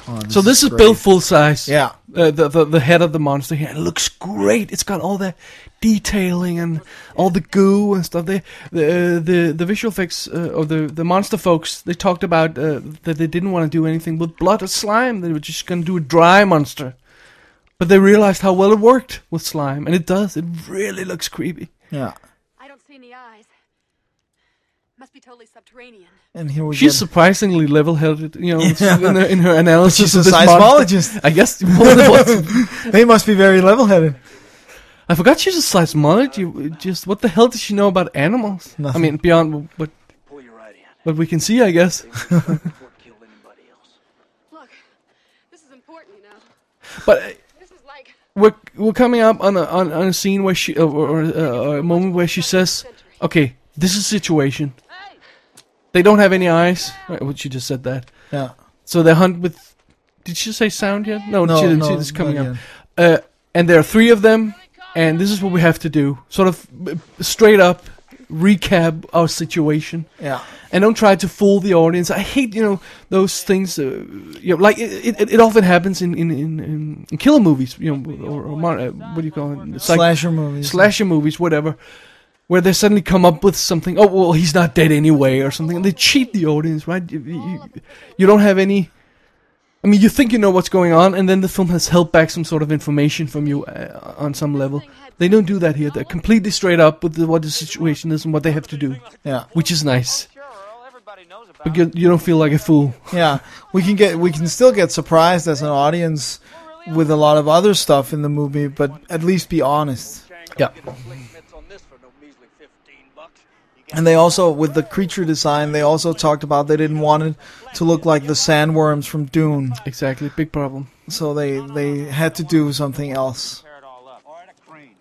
B: Oh,
A: So this is
B: great.
A: built full size.
B: Yeah.
A: Uh, the, the the head of the monster here. It looks great. It's got all that detailing and all the goo and stuff. They, the uh, the the visual effects uh, or the the monster folks they talked about uh, that they didn't want to do anything with blood or slime. They were just going to do a dry monster, but they realized how well it worked with slime, and it does. It really looks creepy.
B: Yeah.
F: I don't see any eyes. Must be totally subterranean.
B: And here we
A: She's
B: get.
A: surprisingly level-headed, you
B: (laughs)
A: know, in, her, in her analysis.
B: She's a
A: of this monster.
B: seismologist.
A: I guess more than what-
B: (laughs) They must be very level-headed.
A: I forgot she's a seismologist. Just what the hell does she know about animals? I
B: Nothing.
A: mean, beyond what
E: Pull your
A: (laughs)
E: right hand
A: what we can see, I guess.
E: before it killed anybody else.
F: Look, this is important, you know.
A: But uh,
F: This is like
A: we're we're coming up on a on, on a scene where she uh, or, or, uh, a moment where she says, "Okay, this is a situation. They don't have any eyes." Right, well, she just said that.
B: Yeah.
A: So they hunt with. Did she say sound yet? No,
B: No,
A: she,
B: no,
A: she- it's coming
B: not
A: up. Uh, and there are three of them, and this is what we have to do. Sort of uh, straight up recap our situation.
B: Yeah.
A: and don't try to fool the audience. I hate you know those things. Uh, you know, like it, it, it often happens in in, in, in in killer movies, you know, or, or mon- uh, what do you call it? It's like
B: Slasher movies.
A: slasher movies, whatever, where they suddenly come up with something. Oh well, he's not dead anyway, or something. And they cheat the audience, right? You, you, you don't have any. I mean, you think you know what's going on, and then the film has held back some sort of information from you uh, on some level. They don't do that here. They're completely straight up with the, what the situation is and what they have to do,
B: Yeah.
A: which is nice.
E: Sure, Earl, everybody knows about it.
A: Because you don't feel like a fool.
B: Yeah. We can get we can still get surprised as an audience with a lot of other stuff in the movie, but at least be honest.
A: Yeah.
B: And they also, with the creature design, they also talked about they didn't want it to look like the sandworms from Dune,
A: Exactly. Big problem.
B: so they they had to do something else.
E: Tear it all up. Or a crane.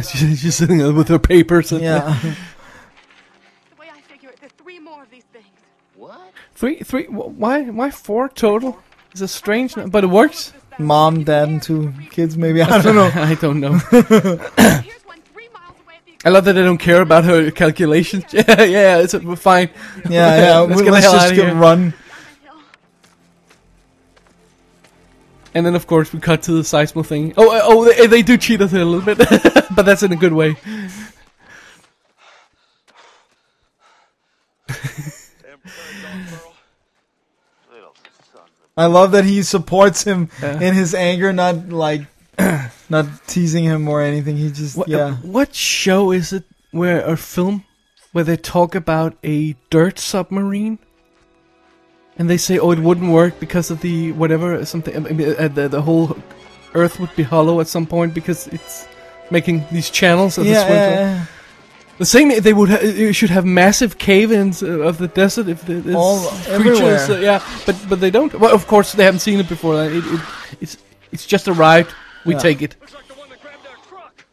A: (laughs) She's she's sitting there with her papers. And
B: Yeah, (laughs)
F: the way I figure it, there are three more of these things.
C: What?
A: Three, three. wh- Why, why four total? It's a strange, nu- but it works.
B: mom, dad, and two kids, maybe (laughs) I don't know.
A: (laughs) I don't know.
F: Here's one three miles away at the
A: I love that I don't care about her calculations. (laughs) Yeah, yeah. It's we're fine. (laughs)
B: Yeah, yeah.
A: Let's
B: let's
A: get the hell
B: just
A: outta
B: get
A: here.
B: run.
F: hill.
A: And then of course we cut to the seismo thing. Oh, uh, oh, they, they do cheat us a little bit, (laughs) but that's in a good way.
B: I love that he supports him
A: Yeah.
B: in his anger, not like (clears throat) not teasing him or anything. He just
A: What,
B: yeah.
A: What show is it? Where a film where they talk about a dirt submarine, and they say, "Oh, it wouldn't work because of the whatever something. I mean, uh, the, the whole Earth would be hollow at some point because it's making these channels." Of
B: yeah,
A: this
B: yeah,
A: winter.
B: yeah.
A: The same. They would ha- you should have massive cave-ins uh, of the desert if the this
B: All- everywhere.
A: uh, yeah, but but they don't. Well, of course they haven't seen it before. It, it, it's it's just arrived. We
B: Yeah.
A: take it.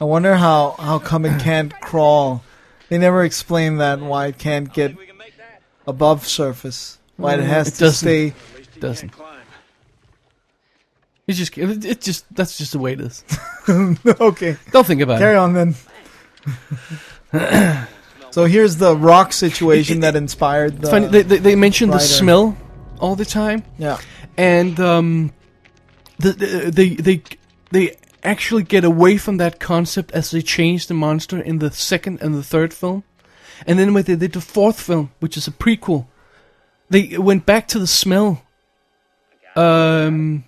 B: I wonder how how come it can't crawl. They never explain that why it can't get above surface. Why it has
A: Mm, It
B: to
A: doesn't.
B: stay.
A: Doesn't. It's just it, it just that's just the way it is.
B: (laughs)
A: (laughs)
B: okay,
A: Don't think about
B: carry
A: it.
B: on
A: (coughs)
B: then. so here's the rock situation that inspired the.
A: It's funny, they, they, they mention the
B: writer.
A: smell all the time,
B: yeah.
A: and um, the, the, they they they actually get away from that concept as they change the monster in the second and the third film, and then when they did the fourth film, which is a prequel, they went back to the smell, um,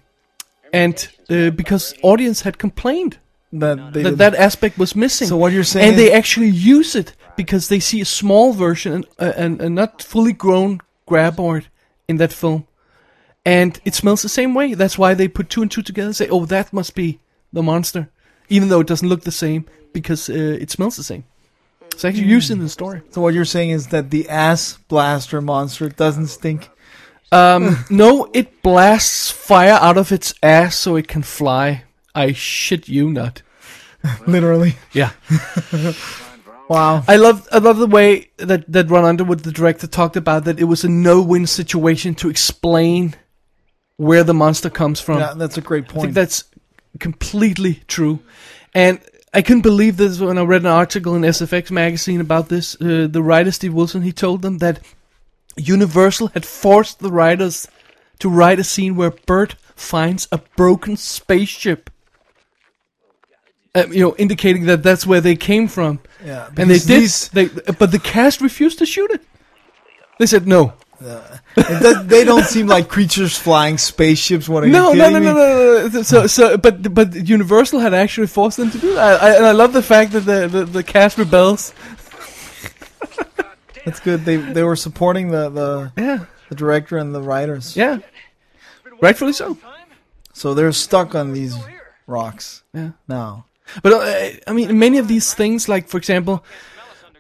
A: and uh, because audience had complained
B: That they
A: that
B: did-
A: that aspect was missing.
B: So what you're saying
A: and they
B: is-
A: actually use it because they see a small version and uh, and, and not fully grown graboid in that film, and it smells the same way. That's why they put two and two together. and Say, oh, that must be the monster, even though it doesn't look the same because uh, it smells the same. It's actually
B: Hmm.
A: used in the story.
B: So what you're saying is that the ass blaster monster doesn't stink.
A: Um, no, it blasts fire out of its ass so it can fly. I shit you not.
B: Literally.
A: Yeah.
B: Wow.
A: I love I love the way that that Ron Underwood, the director, talked about that it was a no-win situation to explain where the monster comes from.
B: Yeah, that's a great
A: I think
B: point.
A: that's completely true, and I couldn't believe this when I read an article in SFX magazine about this. Uh, the writer Steve Wilson he told them that Universal had forced the writers to write a scene where Bert finds a broken spaceship. Uh, you know, indicating that that's where they came from.
B: yeah,
A: And they
B: because
A: did.
B: these-
A: They, but the cast refused to shoot it. They said no.
B: it does- they don't seem like creatures flying spaceships. What are
A: No,
B: you
A: no,
B: kidding
A: no,
B: me?
A: no, no, no. So, so, but, but Universal had actually forced them to do that. I, and I love the fact that the, the, the cast rebels.
B: That's good. They they were supporting the the,
A: Yeah,
B: the director and the writers.
A: yeah. Rightfully so.
B: So they're stuck on these rocks
A: Yeah.
B: now.
A: But uh, I mean, many of these things, like for example,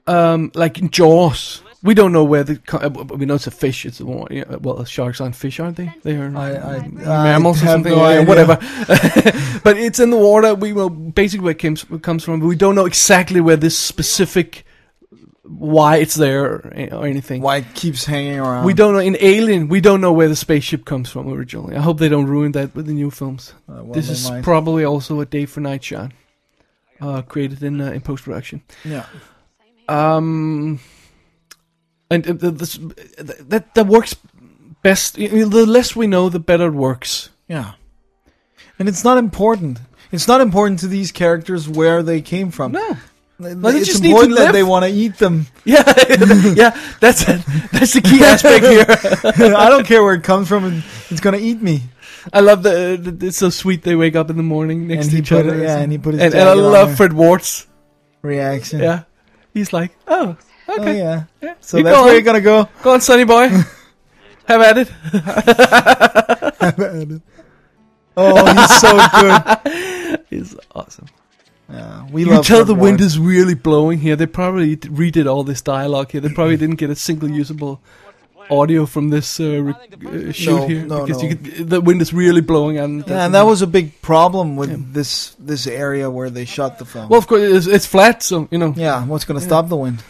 A: um, like in Jaws, we don't know where the co- uh, we know it's a fish. It's a, wa- yeah, well, sharks aren't fish, aren't they? They are.
B: I, I, I
A: mammals or
B: have
A: something,
B: no
A: yeah,
B: idea.
A: whatever. (laughs) but it's in the water. We know basically where it comes, comes from, but we don't know exactly where this specific why it's there or, or anything.
B: Why it keeps hanging around?
A: We don't know in Alien. We don't know where the spaceship comes from originally. I hope they don't ruin that with the new films.
B: Uh, well,
A: this
B: they
A: is
B: might.
A: probably also a day for night shot, uh, created in uh, in post production.
B: Yeah.
A: Um, and uh, the, this, that that works best. I mean, The less we know, the better it works.
B: Yeah. And it's not important. It's not important to these characters where they came from.
A: No. they
B: It's
A: just need to
B: important that
A: live.
B: they want to eat them. (laughs)
A: (laughs) Yeah, yeah, that's it. That's the key aspect here.
B: I don't care where it comes from. it- It's gonna eat me.
A: (laughs) I love the, the it's so sweet. They wake up in the morning next
B: And
A: to
B: he
A: each
B: put
A: other.
B: it- yeah, and he put his
A: and, and I
B: jacket on
A: love
B: there.
A: Fred Wards.
B: Reaction.
A: Yeah, he's like, oh,
B: Oh
A: okay,
B: yeah. So
A: You
B: that's
A: go
B: where
A: on.
B: you're gonna go.
A: go on, Sonny
B: (laughs)
A: boy, have at it.
B: Oh, he's so good.
A: It's awesome.
B: Yeah, we
A: You
B: love.
A: tell
B: Fred
A: the
B: Ward.
A: wind is really blowing here. They probably d- redid all this dialogue here. They probably didn't get a single usable audio from this uh, re- uh, shoot
B: No,
A: here
B: no,
A: because
B: no.
A: You could, the wind is really blowing and
B: Yeah, and that was a big problem with this this area where they shot the film.
A: well, of course, it's, it's flat, so you know.
B: yeah, what's gonna stop the wind?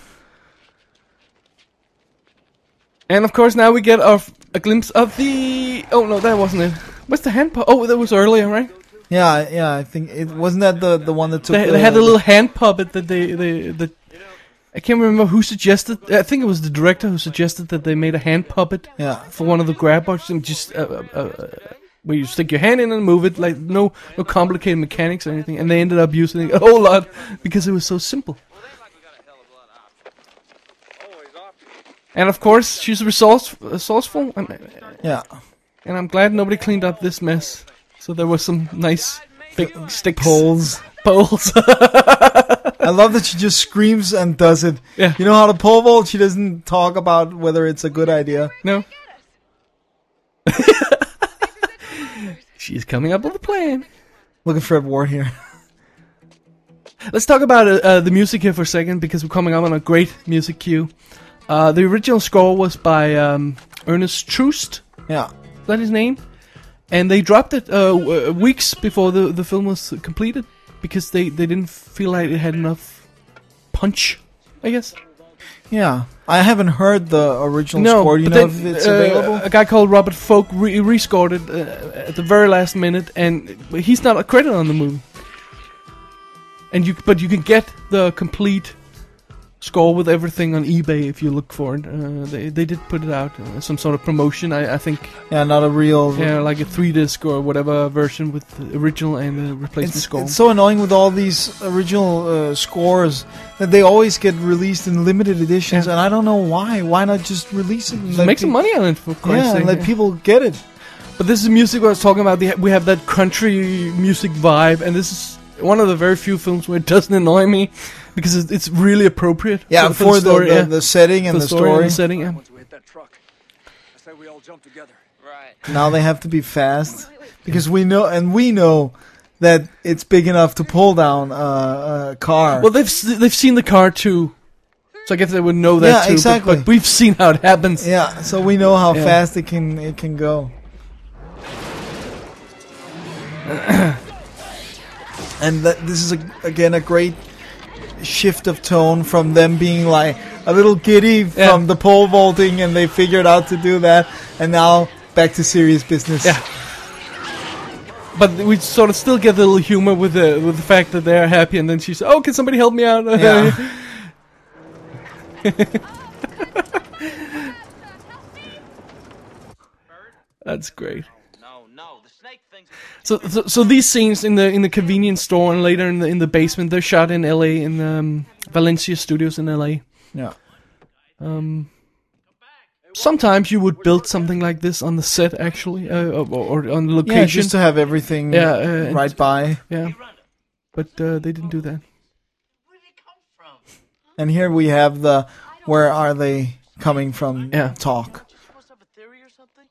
A: And of course, now we get our, a glimpse of the. Oh no, that wasn't it. What's the hand puppet? Oh, that was earlier, right?
B: Yeah, I- yeah. I think it wasn't that the the one that took.
A: They,
B: the,
A: they had a little hand puppet that they they that. I can't remember who suggested. I think it was the director who suggested that they made a hand puppet
B: Yeah.
A: for one of the grab bars and just uh, uh, uh, uh, where you stick your hand in and move it, like no no complicated mechanics or anything. And they ended up using it a whole lot because it was so simple. And of course, she's resource, resourceful. And,
B: Yeah,
A: And I'm glad nobody cleaned up this mess. So there were some nice big stick
B: poles.
A: (laughs) poles.
B: I love that she just screams and does it.
A: Yeah.
B: You know how to pole vault? She doesn't talk about whether it's a good idea.
A: no. (laughs) She's coming up with a plan.
B: Look at Fred Ward here. (laughs)
A: Let's talk about uh, uh, the music here for a second because we're coming up on a great music cue. Uh, the original score was by um, Ernest Troost.
B: Yeah.
A: Is that his name? And they dropped it uh, w- uh, weeks before the, the film was completed because they, they didn't feel like it had enough punch, I guess.
B: Yeah, I haven't heard the original
A: no,
B: score. You
A: but
B: know
A: then,
B: if it's
A: uh,
B: available.
A: A guy called Robert Folk re- rescored it uh, at the very last minute, and he's not a credit on the movie. And you, but you can get the complete score with everything on eBay if you look for it. Uh, they they did put it out uh, some sort of promotion. I, I think
B: yeah, not a real.
A: yeah, like a three disc or whatever version with the original and the replacement
B: It's,
A: score.
B: it's so annoying with all these original uh, scores that they always get released in limited editions,
A: Yeah.
B: and I don't know why. Why not just release it? And
A: Just
B: let
A: make some
B: pe-
A: money on it for Christ's
B: Yeah,
A: sake.
B: and let people get it.
A: But this is music I was talking about. They ha- We have that country music vibe, and this is one of the very few films where it doesn't annoy me because it- it's really appropriate.
B: Yeah,
A: for,
B: for,
A: for the story,
B: the,
A: yeah.
B: the setting and
A: For
B: the, story.
A: and the setting. Yeah.
G: Once we hit that truck, I say we all jump together.
E: Right.
B: now they have to be fast because we know and we know that it's big enough to pull down a, a car.
A: Well, they've s- they've seen the car too, so I guess they would know that
B: Yeah,
A: too. but-
B: exactly.
A: But, we've seen how it happens.
B: yeah, so we know how
A: Yeah.
B: fast it can it can go. (clears throat) and that, this is a, again a great shift of tone from them being like a little giddy
A: Yeah.
B: from the pole vaulting, and they figured out to do that, and now back to serious business.
A: Yeah. But we sort of still get a little humor with the with the fact that they're happy, and then she's oh, can somebody help me out?
B: (laughs)
A: (laughs)
B: Yeah.
A: That's great.
E: No, no, the snake thing's
A: So, so, so these scenes in the in the convenience store and later in the in the basement, they're shot in L.A. in um, Valencia Studios in L.A.
B: yeah.
A: Sometimes you would build something like this on the set, actually, uh, or, or on the
B: Yeah,
A: location.
B: just to have everything
A: Yeah, uh, and-
B: right by.
A: Yeah. but uh, they didn't do that.
B: And here we have the where are they coming from
A: Yeah.
B: talk.
E: supposed to have a theory or something?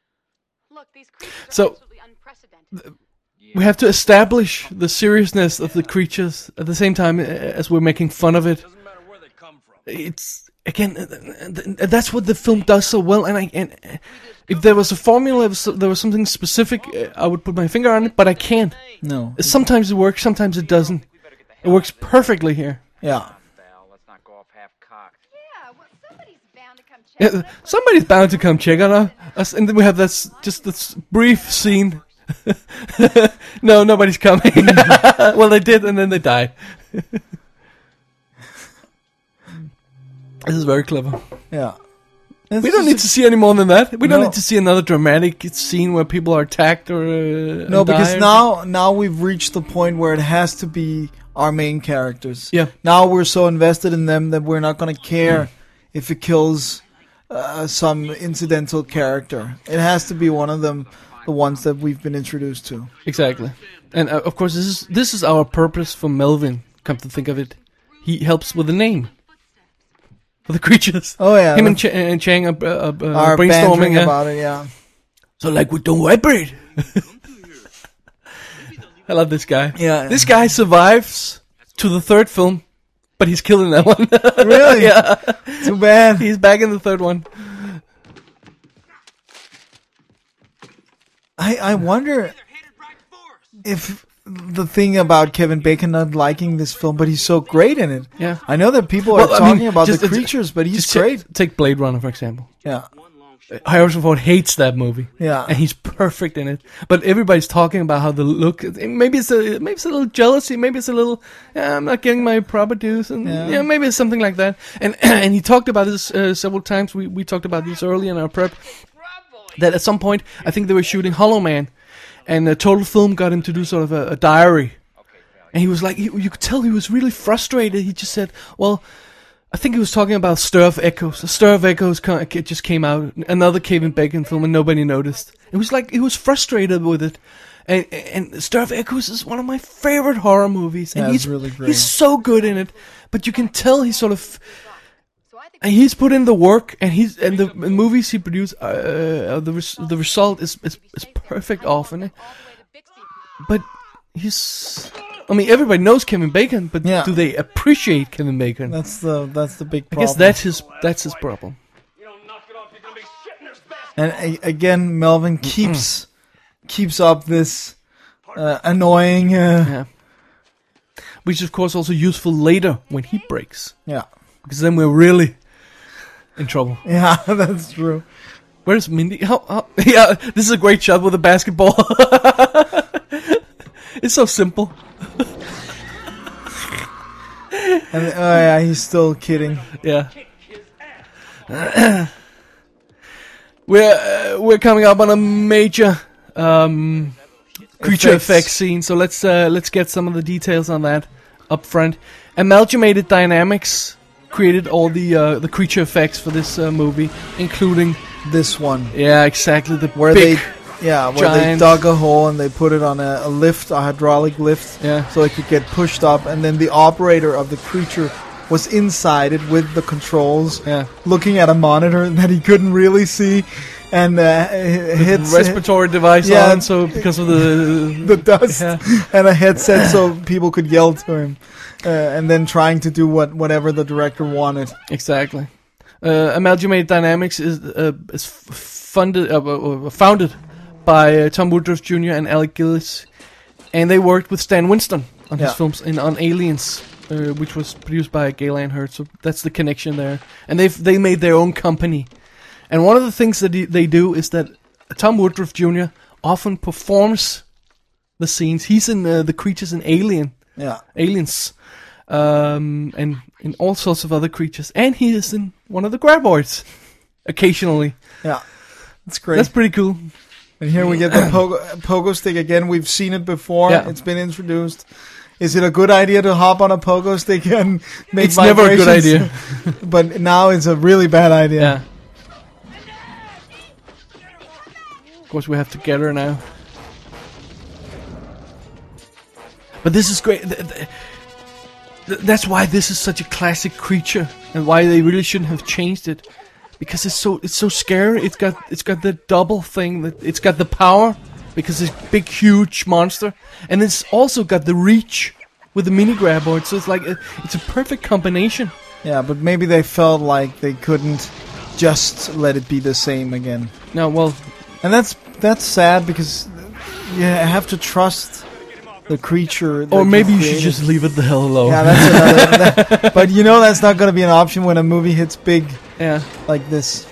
F: (laughs) Look, these creatures are
A: So-
F: absolutely unprecedented.
A: We have to establish the seriousness of the creatures at the same time uh, as we're making fun of it.
G: Doesn't matter where they come from.
A: It's again, uh, uh, uh, that's what the film does so well. And I, and uh, if there was a formula, if so- there was something specific, uh, I would put my finger on it, but I can't.
B: No.
A: Sometimes it works, sometimes it doesn't.
E: We better get the
A: It
E: hell
A: works perfectly here.
B: Yeah.
E: Val, let's not go off half cocked.
F: Yeah, well, somebody's bound to come check.
A: Yeah, (laughs) somebody's bound to come check on us- us, and then we have this just this brief scene. (laughs) no, nobody's coming. (laughs) well, they did, and then they died. (laughs) this is very clever.
B: Yeah.
A: We don't need to see any more than that. We don't
B: No.
A: need to see another dramatic scene where people are attacked or uh,
B: No,
A: and die
B: because
A: or-
B: now now we've reached the point where it has to be our main characters.
A: Yeah. Mm.
B: Now we're so invested in them that we're not going to care if it kills uh, some incidental character. It has to be one of them, the ones that we've been introduced to.
A: Exactly, and uh, of course this is this is our purpose for Melvin. Come to think of it, he helps with the name for the (laughs) creatures.
B: Oh, yeah,
A: him
B: the-
A: and, Ch- and Chang are, uh, uh,
B: Our
A: brainstorming
B: bantering
A: yeah.
B: about it,
A: (laughs)
B: yeah.
A: So like we don't vibrate. (laughs) I love this guy.
B: Yeah.
A: this guy survives to the third film, but he's killing that (laughs) one.
B: (laughs) Really? yeah. Too bad.
A: he's back in the third one.
B: I, I wonder if the thing about Kevin Bacon not liking this film, but he's so great in it.
A: Yeah.
B: I know that people are
A: Well, I
B: talking
A: mean,
B: about
A: just- uh,
B: the creatures, but he's
A: Just ta-
B: great.
A: take Blade Runner for example. Uh,
B: Yeah.
A: Harrison Ford hates that movie.
B: Yeah.
A: and he's perfect in it. But everybody's talking about how the look. Maybe it's a maybe it's a little jealousy. Maybe it's a little "Yeah, I'm not getting my proper dues, and yeah,
B: Yeah.
A: maybe it's something like that. And (clears throat) and he talked about this uh, several times. We we talked about this early in our prep. That at some point, I think they were shooting Hollow Man, and uh, Total Film got him to do sort of a, a diary. And he was like, he, you could tell he was really frustrated. He just said, "Well, I think he was talking about Stir of Echoes. Stir of Echoes co- it just came out, another Kevin Bacon film, and nobody noticed. It was like he was frustrated with it. And, and Stir of Echoes is one of my favorite horror movies, and
B: Yeah, it's
A: he's
B: really great.
A: he's so good in it. But you can tell he's sort of
F: So I think
A: and he's put in the work, and he's and the movies he produced, uh, uh, the res- the result is is, is perfect often.
F: all the way to Bixby.
A: But he's. I mean, everybody knows Kevin Bacon, but
B: Yeah.
A: do they appreciate Kevin Bacon?
B: That's the that's the big
A: I
B: problem.
A: guess that's his that's his problem.
B: and a- again, Melvin keeps keeps up this uh, annoying. Uh,
A: Yeah. Which is, of course, also useful later when he breaks.
B: yeah. (laughs)
A: because then we're really in trouble.
B: Yeah, that's true.
A: Where's Mindy? How, how, (laughs) yeah, this is a great shot with a basketball. (laughs) it's so simple.
B: And oh yeah, he's still kidding.
A: Yeah. (clears throat) we're uh, we're coming up on a major um, creature
B: Effects.
A: effects. scene, so let's uh, let's get some of the details on that up front. Amalgamated Dynamics created all the uh, the creature effects for this uh, movie, including
B: This one
A: yeah, exactly the
B: where
A: big,
B: they yeah where
A: giant-
B: they dug a hole and they put it on a, a lift, a hydraulic lift,
A: Yeah.
B: so it could get pushed up, and then the operator of the creature was inside it with the controls,
A: Yeah.
B: looking at a monitor that he couldn't really see, and uh, h- hits
A: respiratory device
B: Yeah.
A: on, so because of the
B: (laughs) the dust
A: Yeah.
B: and a headset so people could yell to him, uh, and then trying to do what whatever the director wanted.
A: Exactly. Uh, Amalgamated Dynamics is uh, is f- funded uh, uh, uh, founded by uh, Tom Woodruff Jr. and Alec Gillis, and they worked with Stan Winston on
B: Yeah.
A: his films in on Aliens, uh, which was produced by Galen Hurd. So that's the connection there. And they have they made their own company. And one of the things that he- they do is that Tom Woodruff Jr. often performs the scenes. He's in uh, the creatures in Alien
B: Yeah.
A: aliens, um, and and all sorts of other creatures. And he is in one of the graboids occasionally.
B: Yeah. That's great.
A: That's pretty cool.
B: and here we get the pogo, pogo stick again. We've seen it before.
A: Yeah.
B: It's been introduced. Is it a good idea to hop on a pogo stick and make
A: It's never a good (laughs)
B: vibrations?
A: idea.
B: (laughs) but now it's a really bad idea.
A: Yeah. Of course, we have to get her now. But this is great. Th- th- th- That's why this is such a classic creature, and why they really shouldn't have changed it, because it's so it's so scary. It's got it's got the double thing. That it's got the power because it's big, huge monster, and it's also got the reach with the mini graboid. So it's like a, it's a perfect combination.
B: Yeah, but maybe they felt like they couldn't just let it be the same again.
A: Now, well,
B: And that's that's sad because you have to trust the creature. that
A: or maybe you should
B: created.
A: just leave it the hell alone.
B: (laughs) Yeah, that's another. that- (laughs) but you know that's not going to be an option when a movie hits big
A: yeah.
B: like this.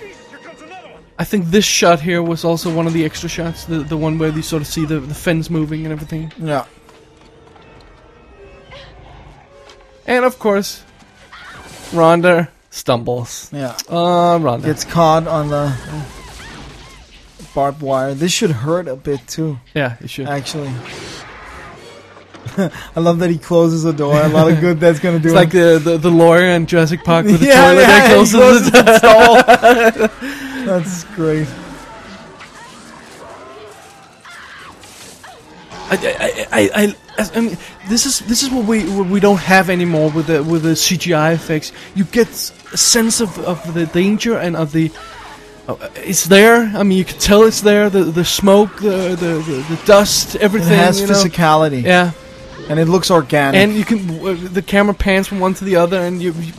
A: I think this shot here was also one of the extra shots, the the one where you sort of see the, the fence moving and everything.
B: Yeah.
A: And of course, Rhonda stumbles.
B: Yeah.
A: Uh, Rhonda.
B: Gets caught on the barbed wire. This should hurt a bit too,
A: yeah, it should.
B: actually. (laughs) I love that he closes the door. A lot of good that's going to do.
A: It's like the, the the lawyer in Jurassic Park with the
B: (laughs) Yeah,
A: toilet
B: yeah,
A: that
B: he
A: closes (laughs)
B: closes
A: the
B: that's great.
A: I, I, I, I, I, I mean, this is this is what we what we don't have anymore with the with the CGI effects. You get s- a sense of, of the danger and of the uh, it's there. I mean, you can tell it's there. The the smoke, the the, the, the dust,
B: It
A: everything.
B: has
A: you know?
B: physicality,
A: Yeah,
B: and it looks organic.
A: and you can w- the camera pans from one to the other, and you, you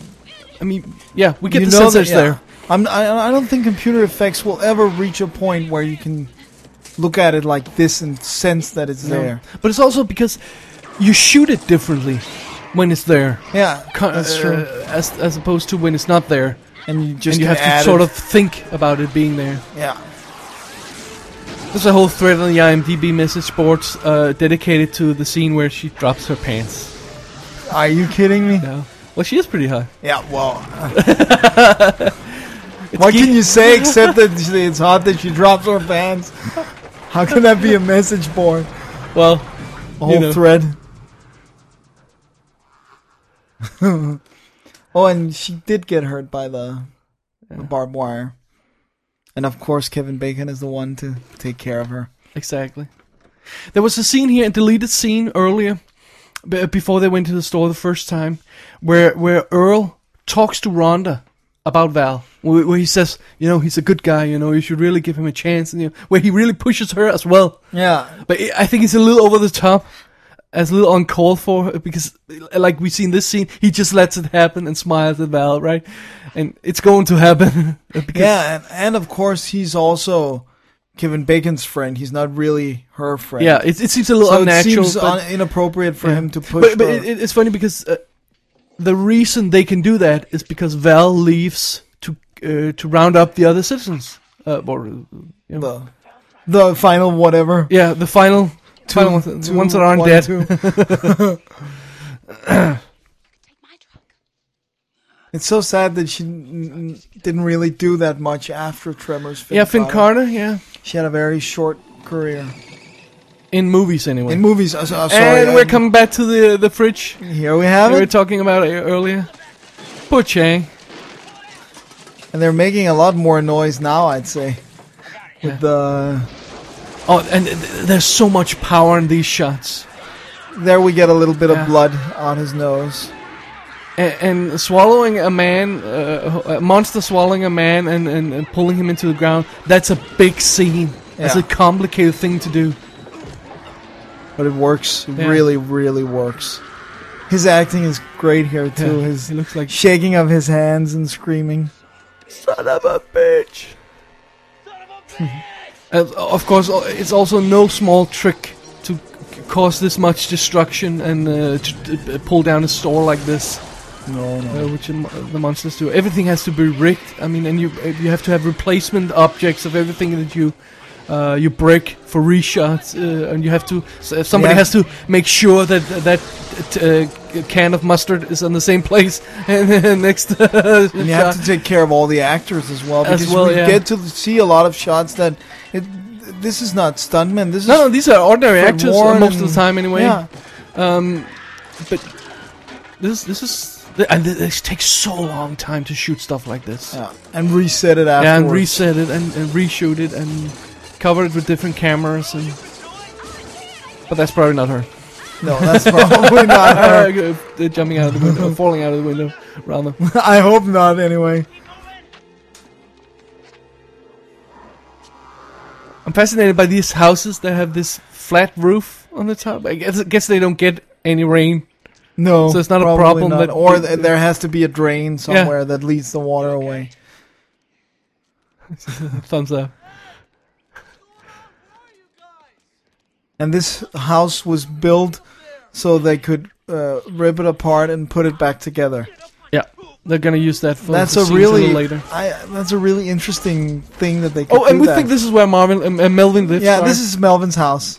A: I mean, yeah, we get
B: You
A: the
B: know
A: sense
B: that-
A: that it's
B: yeah.
A: there.
B: I'm, I, I don't think computer effects will ever reach a point where you can look at it like this and sense that it's there.
A: But it's also because you shoot it differently when it's there.
B: Yeah,
A: co-
B: that's
A: uh,
B: true.
A: As as opposed to when it's not there.
B: And you just
A: and you
B: can
A: have
B: add
A: to sort
B: it.
A: of think about it being there.
B: yeah.
A: There's a whole thread on the IMDb message boards uh, dedicated to the scene where she drops her pants.
B: Are you kidding me?
A: No, well, she is pretty high.
B: Yeah. Well,
A: (laughs)
B: what can you say except that it's hot that she drops her pants? How can that be a message board?
A: Well,
B: A whole
A: know.
B: thread. (laughs) oh, and she did get hurt by the, the barbed wire. And of course, Kevin Bacon is the one to take care of her.
A: exactly. There was a scene here, a deleted scene earlier, b- before they went to the store the first time, where where Earl talks to Rhonda about Val, where, where he says, you know, he's a good guy, you know, you should really give him a chance, and you know, where he really pushes her as well.
B: Yeah,
A: But I I think it's a little over the top, as a little uncalled for because, like we see in this scene, he just lets it happen and smiles at Val, right? And it's going to happen. (laughs) because
B: yeah, and, and of course he's also Kevin Bacon's friend. He's not really her friend.
A: yeah. It, it seems a little
B: so it
A: unnatural.
B: seems
A: but
B: un- inappropriate for him to push.
A: but, but
B: her.
A: it, it's funny because uh, the reason they can do that is because Val leaves to uh, to round up the other citizens. Uh, or, you know.
B: The, the final whatever.
A: yeah, the final, final ones,
B: Two-
A: ones that aren't
B: one,
A: dead.
B: two.
F: Take my truck.
B: It's so sad that she n- n- didn't really do that much after Tremors. Finn
A: yeah, Finn
B: Carter.
A: Carter. Yeah,
B: She had a very short career
A: in movies anyway.
B: in movies. I'm so- I'm sorry,
A: and we're
B: I'm-
A: coming back to the the fridge
B: Here we have
A: we were
B: it,
A: talking about it earlier. Poor Chang.
B: and they're making a lot more noise now. I'd say with the
A: Oh, and th- th- there's so much power in these shots.
B: there we get a little bit
A: Yeah.
B: of blood on his nose.
A: and, and swallowing a man, uh, a monster swallowing a man and, and, and pulling him into the ground, that's a big scene. That's a
B: Yeah.
A: complicated thing to do.
B: but it works. It
A: Yeah.
B: Really, really works. His acting is great here too.
A: Yeah,
B: His
A: he looks like-
B: shaking of his hands and screaming. Son of a bitch!
A: And of course, uh, it's also no small trick to c- cause this much destruction and uh, to to, uh, pull down a store like this,
B: No, no.
A: uh, which the mo- the monsters do. Everything has to be rigged. I mean, and you uh, you have to have replacement objects of everything that you. Uh, you break for reshots, uh, and you have to. So somebody
B: Yeah.
A: has to make sure that that uh, can of mustard is in the same place (laughs) and then next. uh,
B: And
A: (laughs)
B: you have to take care of all the actors as well
A: As
B: because
A: well,
B: we
A: yeah.
B: get to see a lot of shots that it. This is not stuntmen. This is
A: no, no, these are ordinary
B: Fred
A: actors uh,
B: Warren
A: most of the
B: and-
A: time, anyway.
B: yeah.
A: But this this is th- and th- this takes so long time to shoot stuff like this.
B: yeah, and reset it afterwards.
A: Yeah, and reset it and, and reshoot it and cover it with different cameras and. But that's probably not her.
B: No, that's probably
A: (laughs)
B: not her.
A: Uh, jumping out of the (laughs) window, falling out of the window, rather.
B: I hope not. Anyway,
A: (laughs) I'm fascinated by these houses that have this flat roof on the top. I guess, I guess they don't get any rain.
B: no.
A: So it's not a
B: probably
A: problem
B: not.
A: that-
B: or th- there has to be a drain somewhere that leads the water away.
A: Thumbs up.
B: And this house was built so they could uh, rip it apart and put it back together.
A: Yeah, they're gonna use that for.
B: That's
A: for
B: a
A: scenes
B: really
A: later.
B: I, that's a really interesting thing that they. Could
A: Oh, and
B: do
A: we
B: that.
A: think this is where Marvin um, uh, Melvin lives.
B: Yeah,
A: sorry.
B: this is Melvin's house.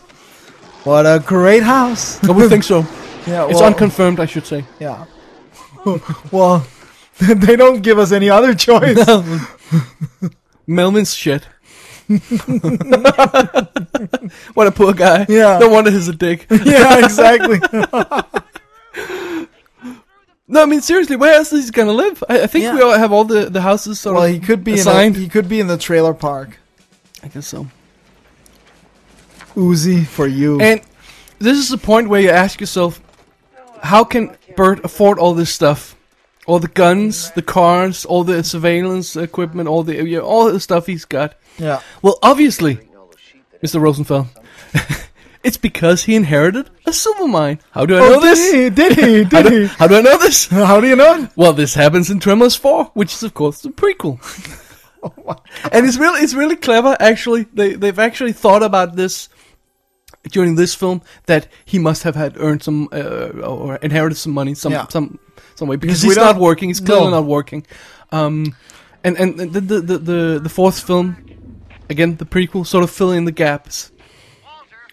B: What a great house!
A: Oh, we think so.
B: yeah,
A: (laughs) It's
B: well,
A: unconfirmed, I should say.
B: Yeah. (laughs) well, (laughs) they don't give us any other choice.
A: (laughs) Melvin's shit. (laughs) what a poor guy.
B: Yeah.
A: No wonder he's a dick.
B: yeah, exactly.
A: No, I mean seriously, where else is he gonna live? I, I think
B: Yeah.
A: we all have all the, the houses sort
B: (laughs) well,
A: of
B: he could be in a,
A: assigned.
B: he could be in the trailer park.
A: I guess so.
B: Uzi for you.
A: And this is the point where you ask yourself, how can Bert afford all this stuff? All the guns, the cars, all the surveillance equipment, all the you know, all the stuff he's got.
B: yeah,
A: Well, obviously, Mr. Rosenfeld, (laughs) it's because he inherited a silver mine. How do I know this?
B: Oh, Did he? Did he?
A: How
B: Did
A: do,
B: he?
A: how do (laughs) I know this?
B: How do you know?
A: Well, this happens in Tremors 4, which is of course the
B: (laughs)
A: prequel.
B: Oh,
A: and it's really it's really clever actually. They they've actually thought about this during this film that he must have had earned some uh, or inherited some money some
B: Yeah.
A: some some way because
B: we
A: he's
B: don't-
A: not working. He's clearly
B: No.
A: not working. Um and and the the, the the the fourth film again the prequel sort of fill in the gaps.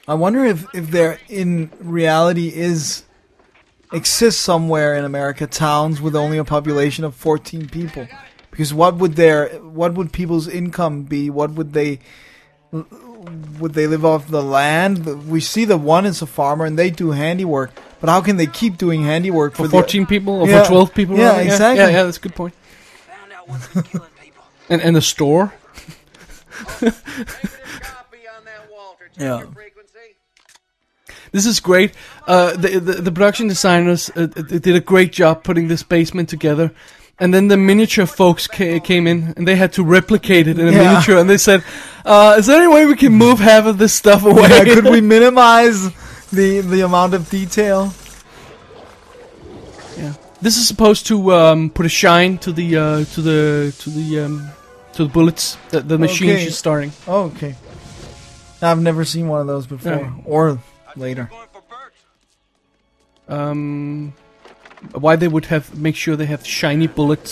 B: I wonder if if there in reality is exists somewhere in America towns with only a population of 14 people. Because what would their what would people's income be? What would they would they live off the land? We see that one is a farmer and they do handiwork, but how can they keep doing handiwork
A: For
B: the-
A: 14 people or
B: Yeah.
A: for 12 people
B: Yeah,
A: rather,
B: exactly.
A: yeah yeah that's a good point
G: Found out what's been killing people.
A: and and a store
D: Copy on that Walter. Check
B: Yeah. (laughs)
D: your frequency.
A: This is great. Uh, the, the the production designers uh, uh, did a great job putting this basement together, and then the miniature folks ca- came in and they had to replicate it in a
B: Yeah.
A: miniature. And they said, uh, "Is there any way we can move half of this stuff away?"
B: Yeah, could we minimize the the amount of detail?
A: Yeah. (laughs) This is supposed to um, put a shine to the uh, to the to the um, to the bullets that the machine
B: Okay.
A: she's starting.
B: Oh, okay. I've never seen one of those before
A: Yeah.
B: or later.
G: Going for Bert.
A: Um, why they would have make sure they have shiny bullets.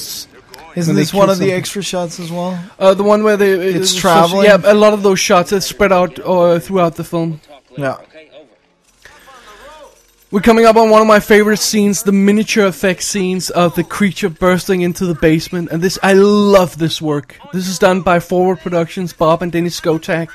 B: Isn't
A: when they
B: this one
A: kill
B: of the
A: something.
B: extra shots as well?
A: Uh, the one where they
B: It's
A: so-
B: traveling?
A: Yeah, a lot of those shots are spread out uh, throughout the film.
B: Yeah.
C: Okay, over.
A: We're coming up on one of my favorite scenes, the miniature effect scenes of the creature bursting into the basement. And this, I love this work. This is done by Forward Productions, Bob and Dennis Skotak,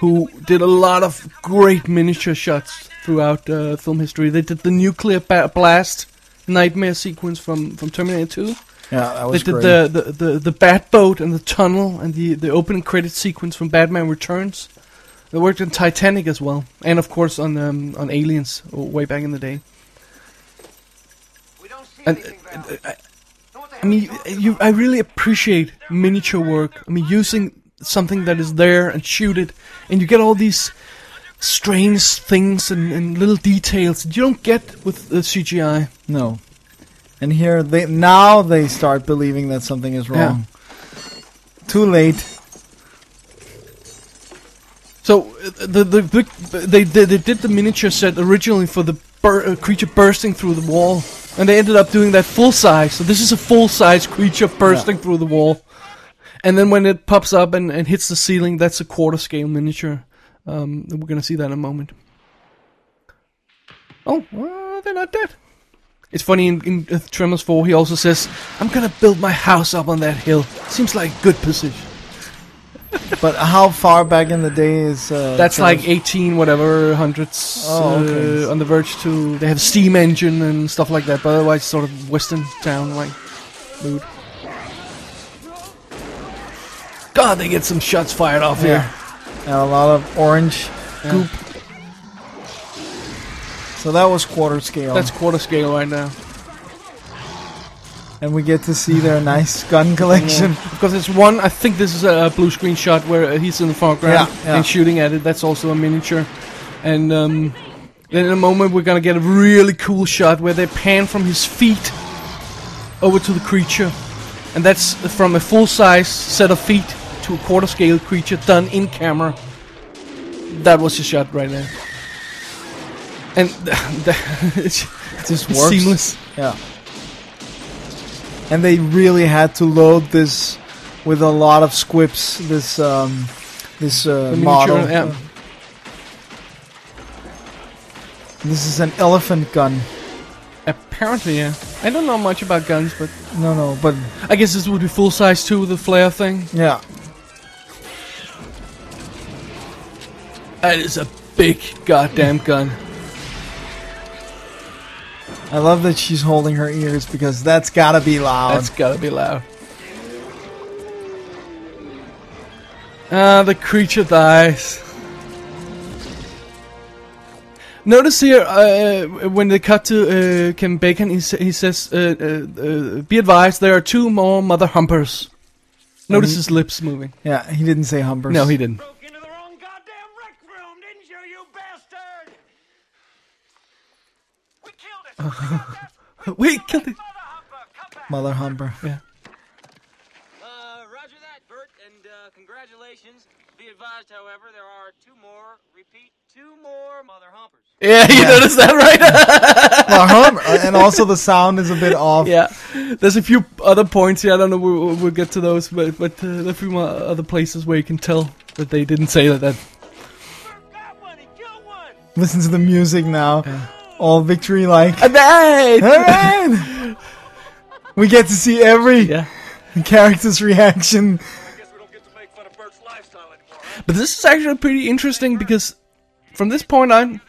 A: who did a lot of great miniature shots throughout uh, film history. They did the nuclear ba- blast nightmare sequence from, from Terminator 2.
B: Yeah, that
A: They
B: was
A: did
B: great.
A: the, the, the, the bat boat and the tunnel and the, the opening credit sequence from Batman Returns. They worked on Titanic as well, and of course on um, on Aliens uh, way back in the day.
G: We don't see
A: And, uh,
G: anything, Val. Know what the
A: I
G: hell
A: mean,
G: you're
A: you, I really appreciate miniature work. I mean, using something that is there and shoot it, and you get all these strange things and, and little details that you don't get with uh, CGI.
B: No. And here they now they start believing that something is wrong. Too late.
A: So uh, the the big, they, they they did the miniature set originally for the bur- uh, creature bursting through the wall, and they ended up doing that full size. So this is a full size creature bursting through the wall, and then when it pops up and, and hits the ceiling, that's a quarter scale miniature. Um, and we're gonna see that in a moment. Oh, well, they're not dead. It's funny in, in uh, Tremors Four, he also says, "I'm gonna build my house up on that hill. Seems like a good position."
B: But how far back in the day is uh,
A: That's
B: Tremors-
A: like 18 whatever hundreds
B: Oh, okay.
A: uh, on the verge to they have steam engine and stuff like that but otherwise sort of western town like mood god they get some shots fired off
B: yeah.
A: here
B: And a lot of orange
A: Yeah.
B: goop. So that was quarter scale.
A: that's quarter scale right now
B: and we get to see their nice gun collection.
A: because it's one i think this is a blue screen shot where uh, he's in the foreground
B: Yeah, yeah.
A: and shooting at it that's also a miniature and um, then in a moment we're gonna get a really cool shot where they pan from his feet over to the creature and that's from a full size set of feet to a quarter scale creature done in camera that was the shot right there and (laughs) it's,
B: It
A: it's
B: just works.
A: seamless
B: Yeah. And they really had to load this with a lot of squips. This um, this uh,
A: The
B: model.
A: miniature, yeah.
B: This is an elephant gun.
A: apparently yeah i don't know much about guns but
B: No, no, but
A: I guess this would be full size too, the flare thing.
B: yeah,
A: That is a big goddamn gun.
B: I love that she's holding her ears because that's gotta be loud.
A: That's gotta be loud. Ah, the creature dies. Notice here uh, when they cut to uh, Ken Bacon, he, sa- he says, uh, uh, uh, "Be advised, there are two more mother humpers." Notice his lips moving.
B: yeah, he didn't say humpers.
A: Um, No, he didn't.
G: Broke into the wrong goddamn rec room, didn't you, you bastard? We
A: (laughs)
G: killed it. We got that
A: Wait, kill the
G: mother humper. Come back.
B: Mother humper.
E: Uh, roger that, Bert, and uh, congratulations. Be advised, however, there are two more, repeat, two more mother humpers.
A: Yeah, (laughs) you noticed that, (laughs) right?
B: Mother
A: (laughs)
B: humper. And also the sound is a bit off.
A: yeah, there's a few other points here. I don't know. We'll, we'll get to those, but but uh, there are a few more other places where you can tell that they didn't say that. that
G: Bert got one. He killed one.
B: Listen to the music now. All victory like.
A: (laughs)
B: we get to see every
A: yeah,
B: character's reaction.
G: I guess we don't get to make fun of Bert's lifestyle anymore. Huh?
A: but this is actually pretty interesting because from this point on,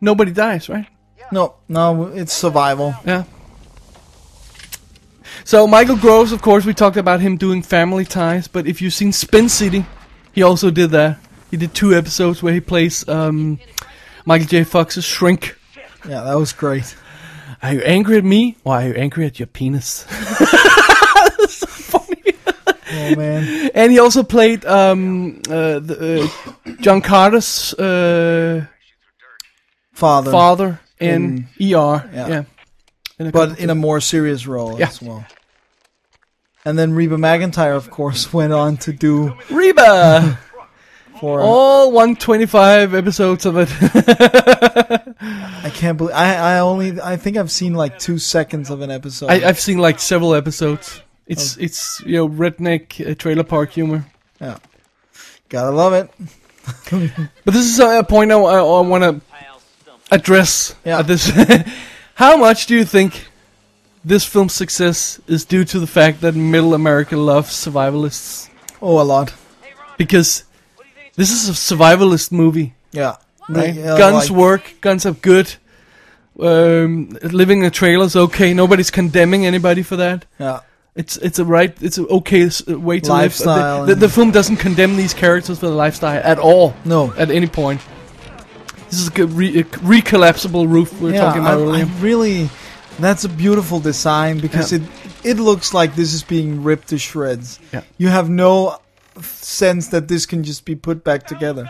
A: nobody dies, right?
B: No, no, it's survival.
A: Yeah. So Michael Groves, of course, we talked about him doing Family Ties, but if you've seen Spin City, he also did that. He did two episodes where he plays um, Michael J. Fox's shrink.
B: Yeah, that was great.
A: Are you angry at me? Or are you angry at your penis? (laughs)
B: Oh man,
A: And he also played um, uh, the, uh, John Carter's uh,
B: father.
A: father in, ER. Yeah. In a
B: but
A: couple-
B: in a more serious role
A: Yeah.
B: as well. And then Reba McIntyre, of course, went on to do
A: Reba!
B: for
A: All 125 episodes of it. (laughs)
B: I can't believe I I only I think I've seen like two seconds of an episode.
A: I, I've seen like several episodes.
B: Oh.
A: It's it's you know redneck uh, trailer park humor.
B: yeah. Gotta love it.
A: But this is a a point I, I, want to
E: Pal Stump.
A: address
B: Yeah.
A: at this. (laughs) How much do you think this film's success is due to the fact that middle America loves survivalists?
B: Oh, a lot.
A: Because this is a survivalist movie.
B: Yeah.
A: Right?
B: Yeah,
A: guns
B: uh, like-
A: work, guns are good. Um, living in a trailer's okay. Nobody's condemning anybody for that.
B: Yeah.
A: It's it's a right. It's a okay s- uh, way to
B: Lifestyle
A: live. The,
B: and-
A: the, the film doesn't condemn these characters for the lifestyle at all.
B: No.
A: at any point. This is a good re- a recollapsible roof we were
B: yeah,
A: talking about
B: I, I
A: earlier.
B: really that's a beautiful design because
A: Yeah.
B: it it looks like this is being ripped to shreds.
A: Yeah.
B: You have no sense that this can just be put back together.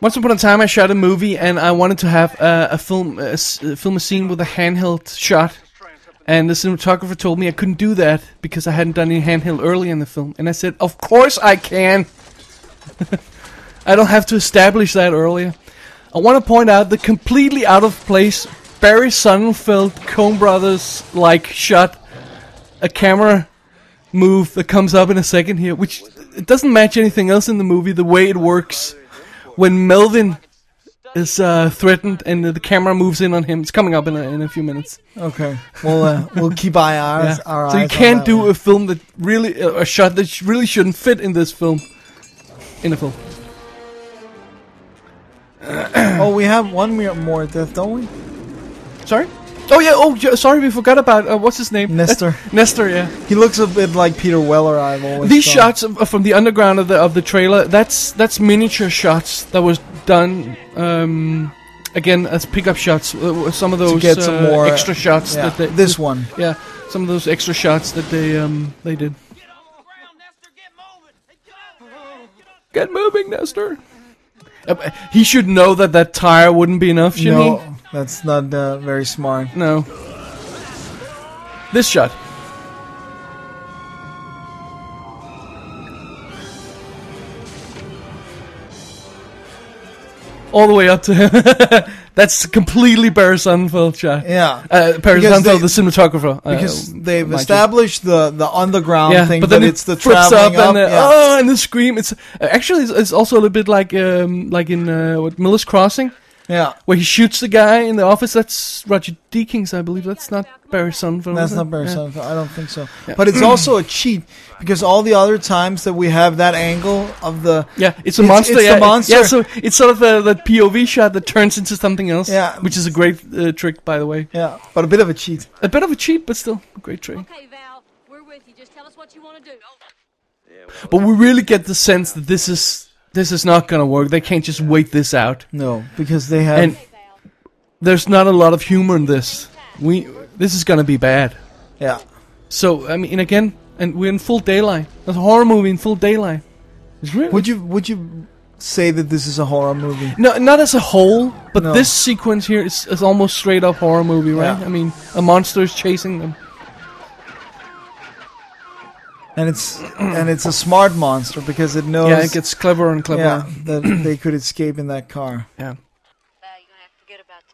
A: Once upon a time, I shot a movie, and I wanted to have a, a film a s- uh, film a scene with a handheld shot. And the cinematographer told me I couldn't do that because I hadn't done any handheld early in the film. And I said, "Of course I can. (laughs) I don't have to establish that earlier." I want to point out the completely out of place Barry Sonnenfeld Coen Brothers like shot, a camera move that comes up in a second here, which it doesn't match anything else in the movie. The way it works when Melvin is uh, threatened and the camera moves in on him. It's coming up in a, in a few minutes.
B: Okay.
A: (laughs)
B: Well, uh, we'll keep eye
A: Yeah.
B: eyes, our
A: so you
B: eyes on
A: can't
B: that
A: do
B: one.
A: a film that really uh, a shot that sh- really shouldn't fit in this film. In a film.
B: Oh, we have one more- more death, don't we?
A: Sorry. Oh yeah. Oh, yeah, sorry. We forgot about uh, what's his name. (laughs)
B: Nestor.
A: Nestor. Yeah.
B: He looks a bit like Peter Weller. I've always
A: These
B: thought.
A: shots of, of- from the underground of the of the trailer. That's that's miniature shots that was done. Um, again as pickup shots. Uh, some of those
B: get some
A: uh,
B: more, uh,
A: extra shots.
B: Yeah.
A: That they,
B: this one.
A: Yeah, some of those extra shots that they um they did.
E: Get on the ground, Nestor. Get moving. Hey, get out there, man. Get on-
A: Get moving, Nestor. Uh, but He should know that that tire wouldn't be enough, shouldn't
B: no, that's not uh, very smart.
A: he? No. This shot. All the way up to him. (laughs) That's completely Barry Sonnenfeld shot.
B: Yeah.
A: Uh, Barry
B: Because
A: Sonnenfeld,
B: they-
A: the cinematographer. uh,
B: because they've
A: mind you.
B: established the the underground thing, but,
A: it
B: it's the
A: flips
B: traveling up.
A: and the,
B: yeah.
A: oh, and the scream. It's actually it's, it's also a little bit like um like in uh, what Miller's Crossing
B: yeah,
A: where he shoots the guy in the office. That's Roger Deakins, I believe. That's not Barry Sonnenfeld.
B: that's
A: is it?
B: not
A: Mm-hmm.
B: very
A: Yeah.
B: something. I don't think so. But it's also a cheat because all the other times that we have that angle of the
A: Yeah, it's a
B: It's-
A: monster.
B: it's a
A: yeah, it-
B: monster.
A: Yeah, so it's sort of a, that POV shot that turns into something else.
B: Yeah.
A: which is a great uh, trick, by the way.
B: yeah, but a bit of a cheat.
A: A bit of a cheat, but still a great trick.
F: Okay, Val, we're with you. Just tell us what you want to do.
A: But we really get the sense that this is this is not gonna work. They can't just wait this out.
B: No, because they have
A: And there's not a lot of humor in this. We this is gonna be bad.
B: yeah.
A: So I mean, and again, and we're in full daylight. That's a horror movie in full daylight. It's really
B: Would you would you say that this is a horror movie?
A: no, not as a whole, but
B: No.
A: this sequence here is, is almost straight up horror movie, right?
B: Yeah.
A: I mean, a monster is chasing them.
B: And it's and it's a smart monster because it knows
A: Yeah, it gets cleverer and cleverer.
B: Oh, yeah, that
A: (clears throat)
B: they could escape in that car. (laughs)
A: Yeah.
F: Val,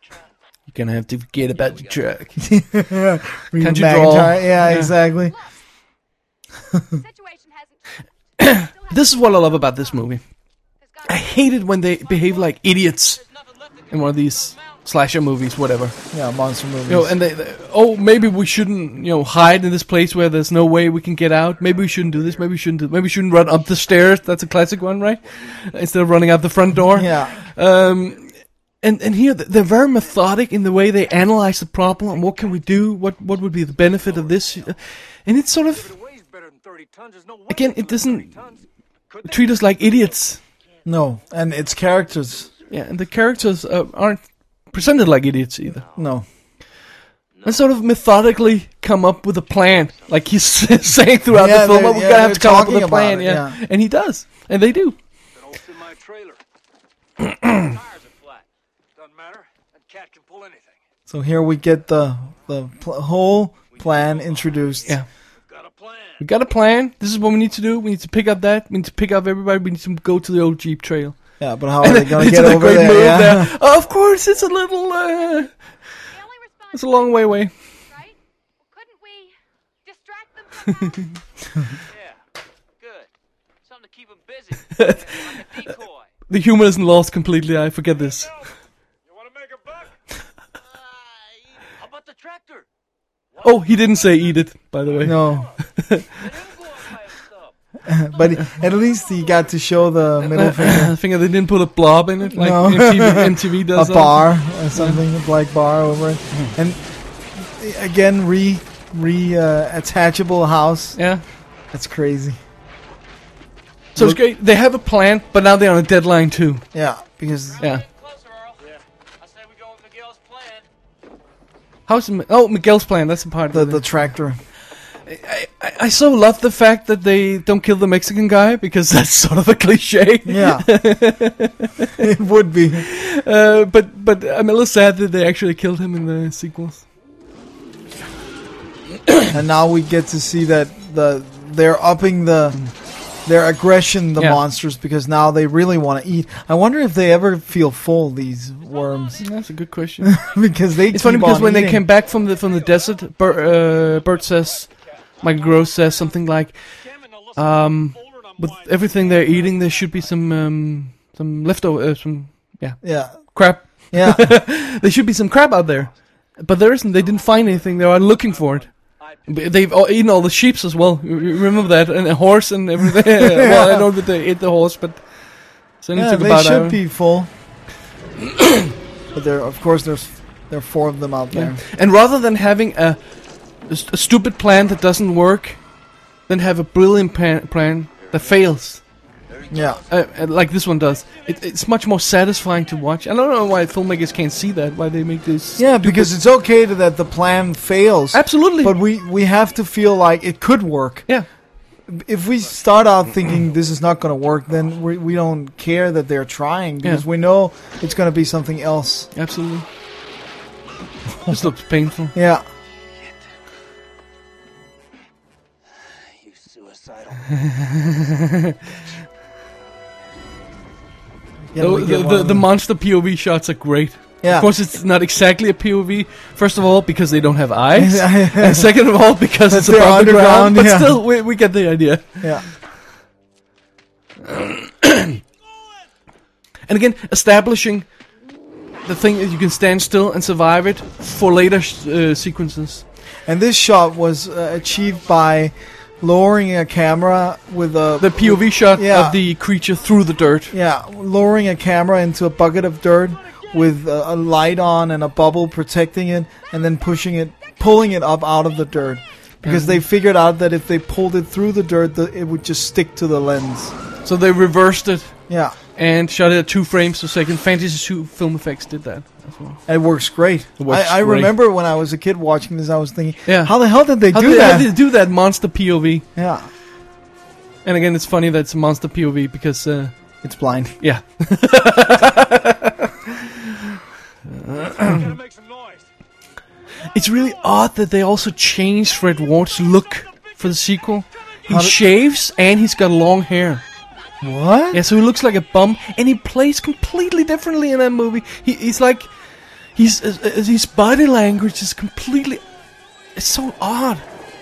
F: you're going to have to forget about the
A: (laughs)
F: truck.
A: You're gonna have to forget about the truck.
B: Can't
A: you draw?
B: Yeah,
A: Yeah.
B: exactly.
F: The situation hasn't
A: (coughs)
F: changed. Still have-
A: (laughs) this is what I love about this movie.
F: there's gotta
A: I
F: be
A: hate it when they behave like idiots in one of these slasher movies, whatever.
B: Yeah, monster movies.
A: You know, and they, they- oh, maybe we shouldn't, you know, hide in this place where there's no way we can get out. Maybe we shouldn't do this. Maybe we shouldn't. Do, maybe we shouldn't run up the stairs. That's a classic one, right? Instead of running out the front door.
B: yeah.
A: Um, and and here th- they're very methodic in the way they analyze the problem. and What can we do? What what would be the benefit of this? And it's sort of
G: Weighs better than 30 tons. There's no way
A: again, it
G: it's gonna be
A: doesn't
G: 30 tons. Could they?
A: treat us like idiots.
B: No, and its characters.
A: Yeah, and the characters uh, aren't presented like idiots either.
B: No.
A: and sort of methodically come up with a plan, like he's (laughs) saying throughout the
B: Yeah,
A: film.
B: they're-
A: "Oh, we're
B: yeah,
A: gonna have
B: they're
A: to come up with
B: talking
A: a
B: about
A: plan,
B: it,
A: yeah.
B: yeah.
A: and he does, and they do.
G: It's in my trailer.
E: Tires are flat.
G: Doesn't matter. That cat can pull anything.
B: So here we get the the pl- whole plan introduced.
A: Yeah.
G: Got a plan.
A: We got a plan. This is what we need to do. We need to pick up that. We need to pick up everybody. We need to go to the old Jeep trail.
B: Yeah,
A: (laughs)
B: but how are they gonna
A: They
B: get
A: did a
B: over
A: great
B: there?
A: move
B: Yeah.
A: there. Oh, Of course, it's a little. Uh,
F: They only responded,
A: it's a long way away.
F: right? Well, couldn't we distract them
A: (laughs)
F: somehow?
E: Yeah, good. Something to keep them busy. like a decoy.
A: The humor isn't lost completely. I forget this.
G: You want to make a buck?
E: Uh, how about the tractor?
A: Oh, he didn't say eat it, by the way.
B: (laughs) No,
E: Let him go and buy him stuff.
B: but at least he got to show the middle
A: (laughs) (laughs)
B: finger.
A: I think they didn't put a blob in it like
B: No.
A: MTV, MTV
B: (laughs) a
A: does. uh, on-
B: bar or something, a black bar over it,
A: Hmm.
B: and eh, again re re uh, attachable house.
A: Yeah.
B: That's crazy.
A: So it's great. They have a plan, but now they're on a deadline too.
B: Yeah, because
A: Yeah.
E: Getting closer, Earl. Yeah. I say we go with Miguel's plan.
A: How's the, oh Miguel's plan? That's the part.
B: the
A: that
B: the
A: (laughs)
B: tractor.
A: I, I so love the fact that they don't kill the Mexican guy because (laughs) that's sort of a cliche.
B: Yeah, (laughs) it would be.
A: (laughs) Uh, but but I'm a little sad that they actually killed him in the sequels.
B: And now we get to see that the they're upping the their aggression, the
A: Yeah.
B: monsters, because now they really want to eat. I wonder if they ever feel full. These worms, (laughs)
A: That's a good question.
B: because they.
A: (laughs) It's funny because when they came back from the from the desert, Bert, uh, Bert says, Michael Gross says something like, um, "With everything they're eating, there should be some um, some leftover uh, some yeah
B: Yeah,
A: crap. (laughs)
B: yeah.
A: There should be some crap out there, but there isn't. They didn't find anything. They are looking for it." But They've all eaten all the sheep's as well. You- you Remember that, and a horse and
B: (laughs)
A: everything. (laughs) well, I don't know that they ate the horse, but so
B: Yeah, they should be full. but there, of course, there's there are four of them out there.
A: And rather than having a, a st- a stupid plan that doesn't work, then have a brilliant pan- plan that fails,
B: Yeah,
A: uh, uh, like this one does. It, it's much more satisfying to watch. I don't know why filmmakers can't see that. Why they make this?
B: yeah, because it's okay to, that the plan fails.
A: absolutely.
B: But we we have to feel like it could work.
A: yeah,
B: If we start out thinking this is not going to work, then we, we don't care that they're trying because
A: Yeah.
B: we know it's going to be something else.
A: absolutely. this looks painful.
B: Yeah,
E: You suicidal.
B: yeah.
A: The,
B: we
A: the,
B: get one
A: the,
B: of
A: the
B: them.
A: monster POV shots are great.
B: Yeah.
A: Of course, it's not exactly a POV. First of all, because they don't have
B: (laughs)
A: eyes. and second of all, because it's
B: They're
A: above the ground.
B: underground,
A: But
B: yeah.
A: still, we, we get the idea.
B: yeah.
A: And again, establishing the thing that you can stand still and survive it for later sh- uh, sequences.
B: And this shot was uh, achieved by lowering a camera with a
A: The POV shot
B: Yeah.
A: of the creature through the dirt.
B: Yeah, lowering a camera into a bucket of dirt with a, a light on and a bubble protecting it, and then pushing it, pulling it up out of the dirt. Because
A: Mm-hmm.
B: they figured out that if they pulled it through the dirt, the, it would just stick to the lens.
A: So they reversed it
B: Yeah,
A: and shot it at two frames per second. Fantasy 2 film effects did that as well.
B: it works great.
A: It works
B: I, I
A: great.
B: remember when I was a kid watching this, I was thinking,
A: Yeah.
B: how the hell did they
A: How
B: do
A: did,
B: that?
A: how did they do that monster POV?
B: yeah,
A: And again, it's funny that it's a monster POV because, uh,
B: it's blind.
A: yeah. (laughs)
G: Gotta make some noise.
A: It's really odd that they also changed Fred Ward's look for the sequel. He shaves and he's got long hair.
B: What?
A: Yeah, so he looks like a bum, and he plays completely differently in that movie. He, he's like, he's uh, uh, his body language is completely, it's so odd.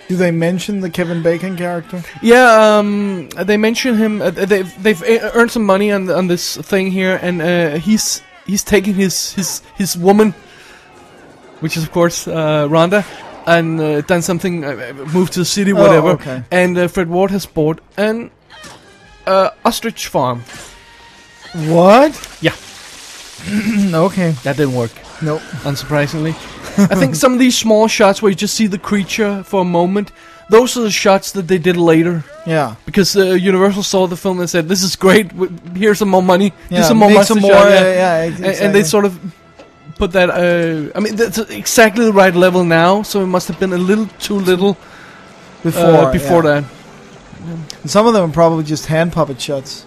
B: Do they mention the Kevin Bacon character?
A: Yeah, um, they mention him. Uh, they've they've e- earned some money on on this thing here, and uh, he's he's taking his his his woman, which is of course uh, Rhonda, and uh, done something, uh, uh, moved to the city,
B: Oh,
A: whatever.
B: okay.
A: And uh, Fred Ward has bought an uh, ostrich farm.
B: What?
A: Yeah,
B: (clears throat) okay.
A: that didn't work.
B: Nope.
A: unsurprisingly. (laughs) I think some of these small shots where you just see the creature for a moment, those are the shots that they did later.
B: Yeah.
A: Because uh, Universal saw the film and said, "This is great. W- Here's some more money.
B: Yeah,
A: Here's some more
B: make
A: monster
B: some
A: shot,
B: more,
A: yeah."
B: uh, yeah,
A: A-
B: exactly.
A: And they sort of put that. Uh, I mean, that's exactly the right level now. So it must have been a little too little
B: Before
A: uh, before
B: yeah.
A: that.
B: And some of them are probably just hand puppet shots.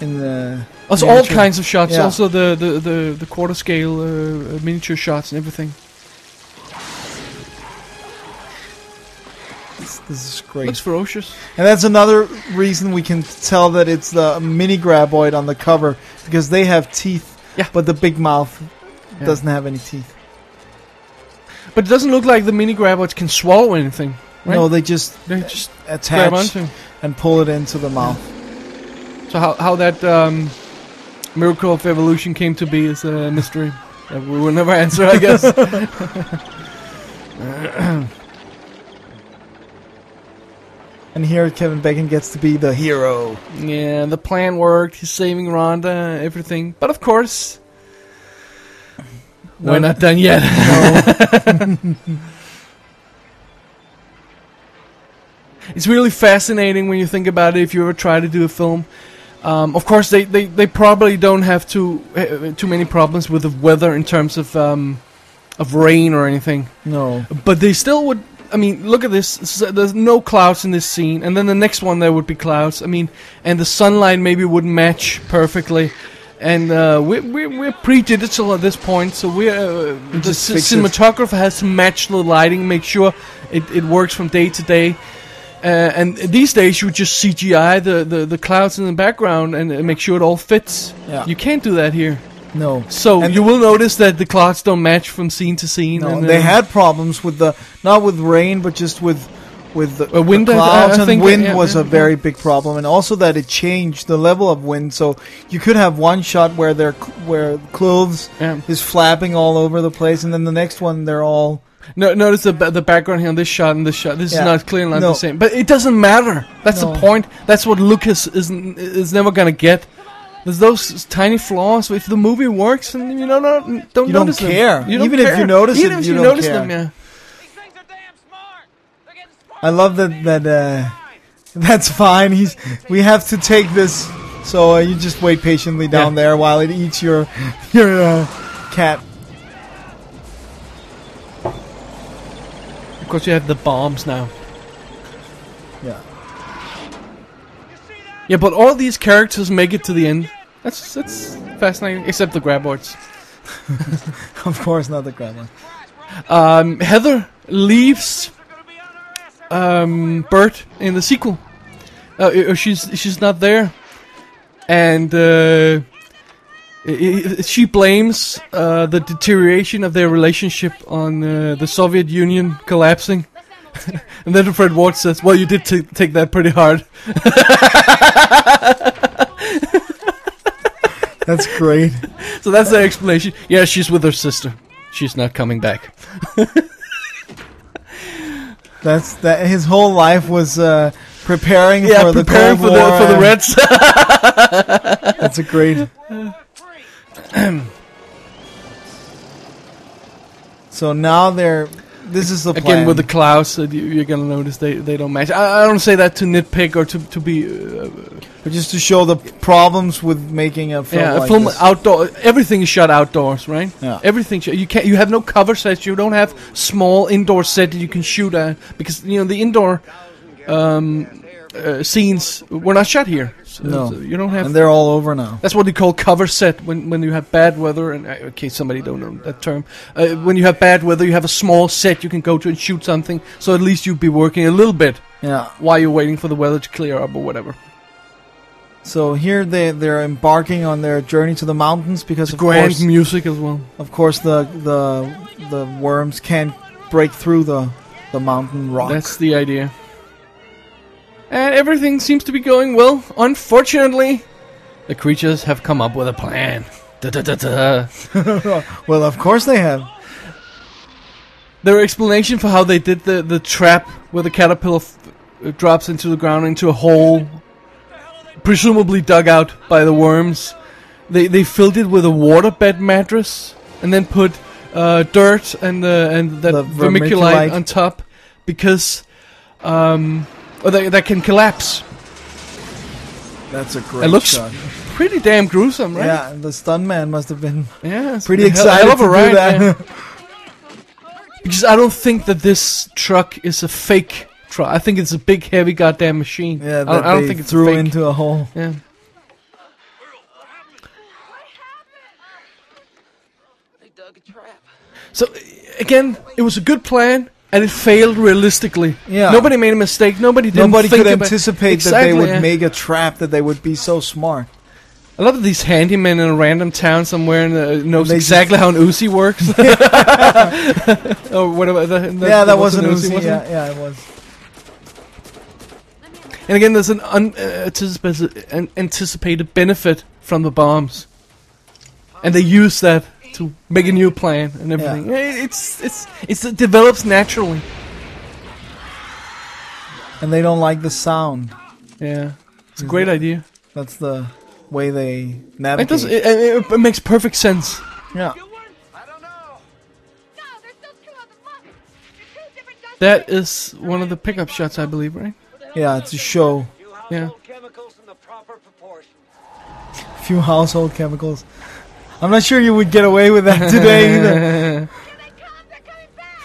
B: In the
A: Also, all
B: miniature.
A: kinds of shots.
B: Yeah.
A: Also, the the the, the quarter scale uh, miniature shots and everything.
B: This is great.
A: Looks ferocious.
B: And that's another reason we can tell that it's the mini graboid on the cover because they have teeth,
A: Yeah.
B: but the big mouth
A: Yeah.
B: doesn't have any teeth.
A: But it doesn't look like the mini graboids can swallow anything. Right?
B: No, they just
A: they just grab
B: attach
A: onto.
B: and pull it into the mouth.
A: So how how that um, miracle of evolution came to be is a mystery that we will never (laughs) answer, I guess.
B: And here Kevin Bacon gets to be the hero.
A: yeah, the plan worked. He's saving Rhonda, everything. But of course, we're not done yet. (laughs) it's really fascinating when you think about it. If you ever try to do a film, um, of course they, they, they probably don't have too uh, too many problems with the weather in terms of um, of rain or anything.
B: No.
A: But they still would. I mean, look at this. S- There's no clouds in this scene, and then the next one there would be clouds. I mean, and the sunlight maybe would match perfectly. And uh, we're, we're, we're pre-digital at this point, so we're uh, the
B: just
A: c-
B: fix it.
A: cinematographer has to match the lighting, make sure it, it works from day to day. Uh, and these days, you just CGI the, the, the clouds in the background and uh, make sure it all fits.
B: Yeah.
A: You can't do that here.
B: No.
A: So
B: And-
A: you will notice that the clouds don't match from scene to scene.
B: No,
A: and,
B: they
A: uh,
B: had problems with the not with rain, but just with with the,
A: Uh, wind,
B: the
A: I- I- I
B: clouds and
A: think,
B: wind
A: yeah,
B: was
A: yeah,
B: a very big problem, and also that it changed the level of wind. So you could have one shot where their c- where clothes
A: Yeah.
B: is flapping all over the place, and then the next one they're all
A: No, notice the ba- the background here on this shot and this shot. This
B: Yeah.
A: is not clearly not
B: No.
A: the same, but it doesn't matter. That's
B: No.
A: the point. That's what Lucas is n- is never gonna get. There's those tiny flaws. If the movie works, and you know, no, don't
B: You don't
A: notice them.
B: care.
A: You don't
B: Even if you
A: care.
B: notice
A: Even
B: it,
A: if
B: you
A: you,
B: don't
A: notice
B: care.
A: them, yeah.
G: These things are damn smart. They're getting smart.
B: I love that that uh, that's fine. He's we have to take this, so uh, you just wait patiently down
A: Yeah.
B: there while it eats your (laughs) your uh, cat.
A: Of course, you have the bombs now.
B: Yeah. (laughs)
A: Yeah, but all these characters make it to the end. That's that's fascinating. Except the graboids.
B: Of course, not the grandma.
A: Um, Heather leaves um, Bert in the sequel. Uh, i- she's she's not there, and uh, i- i- she blames uh, the deterioration of their relationship on uh, the Soviet Union collapsing. (laughs) and then Fred Ward says, "Well, you did t- take that pretty hard." (laughs)
B: That's great.
A: So that's the explanation. Yeah, she's with her sister. She's not coming back.
B: That's that. His whole life was uh, preparing
A: Yeah,
B: for the
A: preparing
B: Cold
A: for
B: War.
A: the for the Reds.
B: (laughs) That's a great. (clears throat) so now they're. This is the plan.
A: Again, with the clouds, that you- you're gonna notice they, they don't match. I, I don't say that to nitpick or to to be uh,
B: But just to show the problems with making a film.
A: yeah
B: like
A: a film
B: this.
A: outdoor. Everything is shot outdoors, right?
B: Yeah.
A: Everything sh- you can not you have no cover sets. You don't have small indoor set that you can shoot at because you know the indoor um, uh, scenes were not shot here. So,
B: No.
A: so you don't have.
B: and they're all over now.
A: That's what they call cover set when, when you have bad weather. And uh, okay, somebody don't know that term. Uh, when you have bad weather, you have a small set you can go to and shoot something. So at least you'd be working a little bit
B: Yeah.
A: while you're waiting for the weather to clear up or whatever.
B: So here they they're embarking on their journey to the mountains because of
A: Grand
B: course,
A: music as well.
B: of course the the the worms can't break through the the mountain rock.
A: That's the idea. And everything seems to be going well. Unfortunately, the creatures have come up with a plan. Da, da, da, da.
B: well, of course they have.
A: Their explanation for how they did the, the trap where the caterpillar f- uh, drops into the ground into a hole, presumably dug out by the worms. They, they filled it with a waterbed mattress and then put uh, dirt and uh, and that
B: The vermiculite.
A: vermiculite on top because um, or that, that can collapse.
B: That's a great
A: It looks
B: shot.
A: pretty damn gruesome, right?
B: Yeah, the stunt man must
A: (laughs)
B: have been
A: Yeah, it's
B: pretty
A: a hell-
B: excited
A: hell of
B: to
A: a ride,
B: do that.
A: yeah. because I don't think that this truck is a fake truck. I think it's a big, heavy, goddamn machine.
B: (laughs) Yeah,
A: I
B: that
A: don't, I don't
B: they
A: think it's
B: threw
A: fake.
B: into a hole.
A: Yeah.
E: They dug a trap.
A: So uh, again, it was a good plan. and it failed realistically.
B: Yeah.
A: Nobody made a mistake. Nobody did.
B: Nobody
A: think
B: could
A: about-
B: anticipate that
A: Exactly,
B: they would
A: yeah.
B: make a trap that they would be so smart.
A: A lot of these handymen in a random town somewhere and uh, knows
B: They just-
A: exactly how an Uzi
B: (laughs)
A: works. (laughs) or whatever. The, the-
B: yeah, that
A: was
B: was an
A: wasn't
B: Uzi.
A: it?
B: yeah, yeah, it was.
A: And again, there's an unanticipated an anticipated benefit from the bombs, and they use that to make a new plan and everything. It- It's it's it's it develops naturally.
B: And they don't like the sound.
A: Yeah, it's a great idea.
B: That's the way they navigate.
A: It does. It, it, it makes perfect sense.
B: yeah.
F: No, there's still two of them left. They're two different guns.
A: That is one of the pickup shots, I believe, right?
B: yeah, it's a show.
G: Few
A: Yeah.
G: household chemicals in the proper proportion.
B: Few household chemicals. I'm not sure you would get away with that today
A: (laughs)
B: either.
F: They come, they're coming back.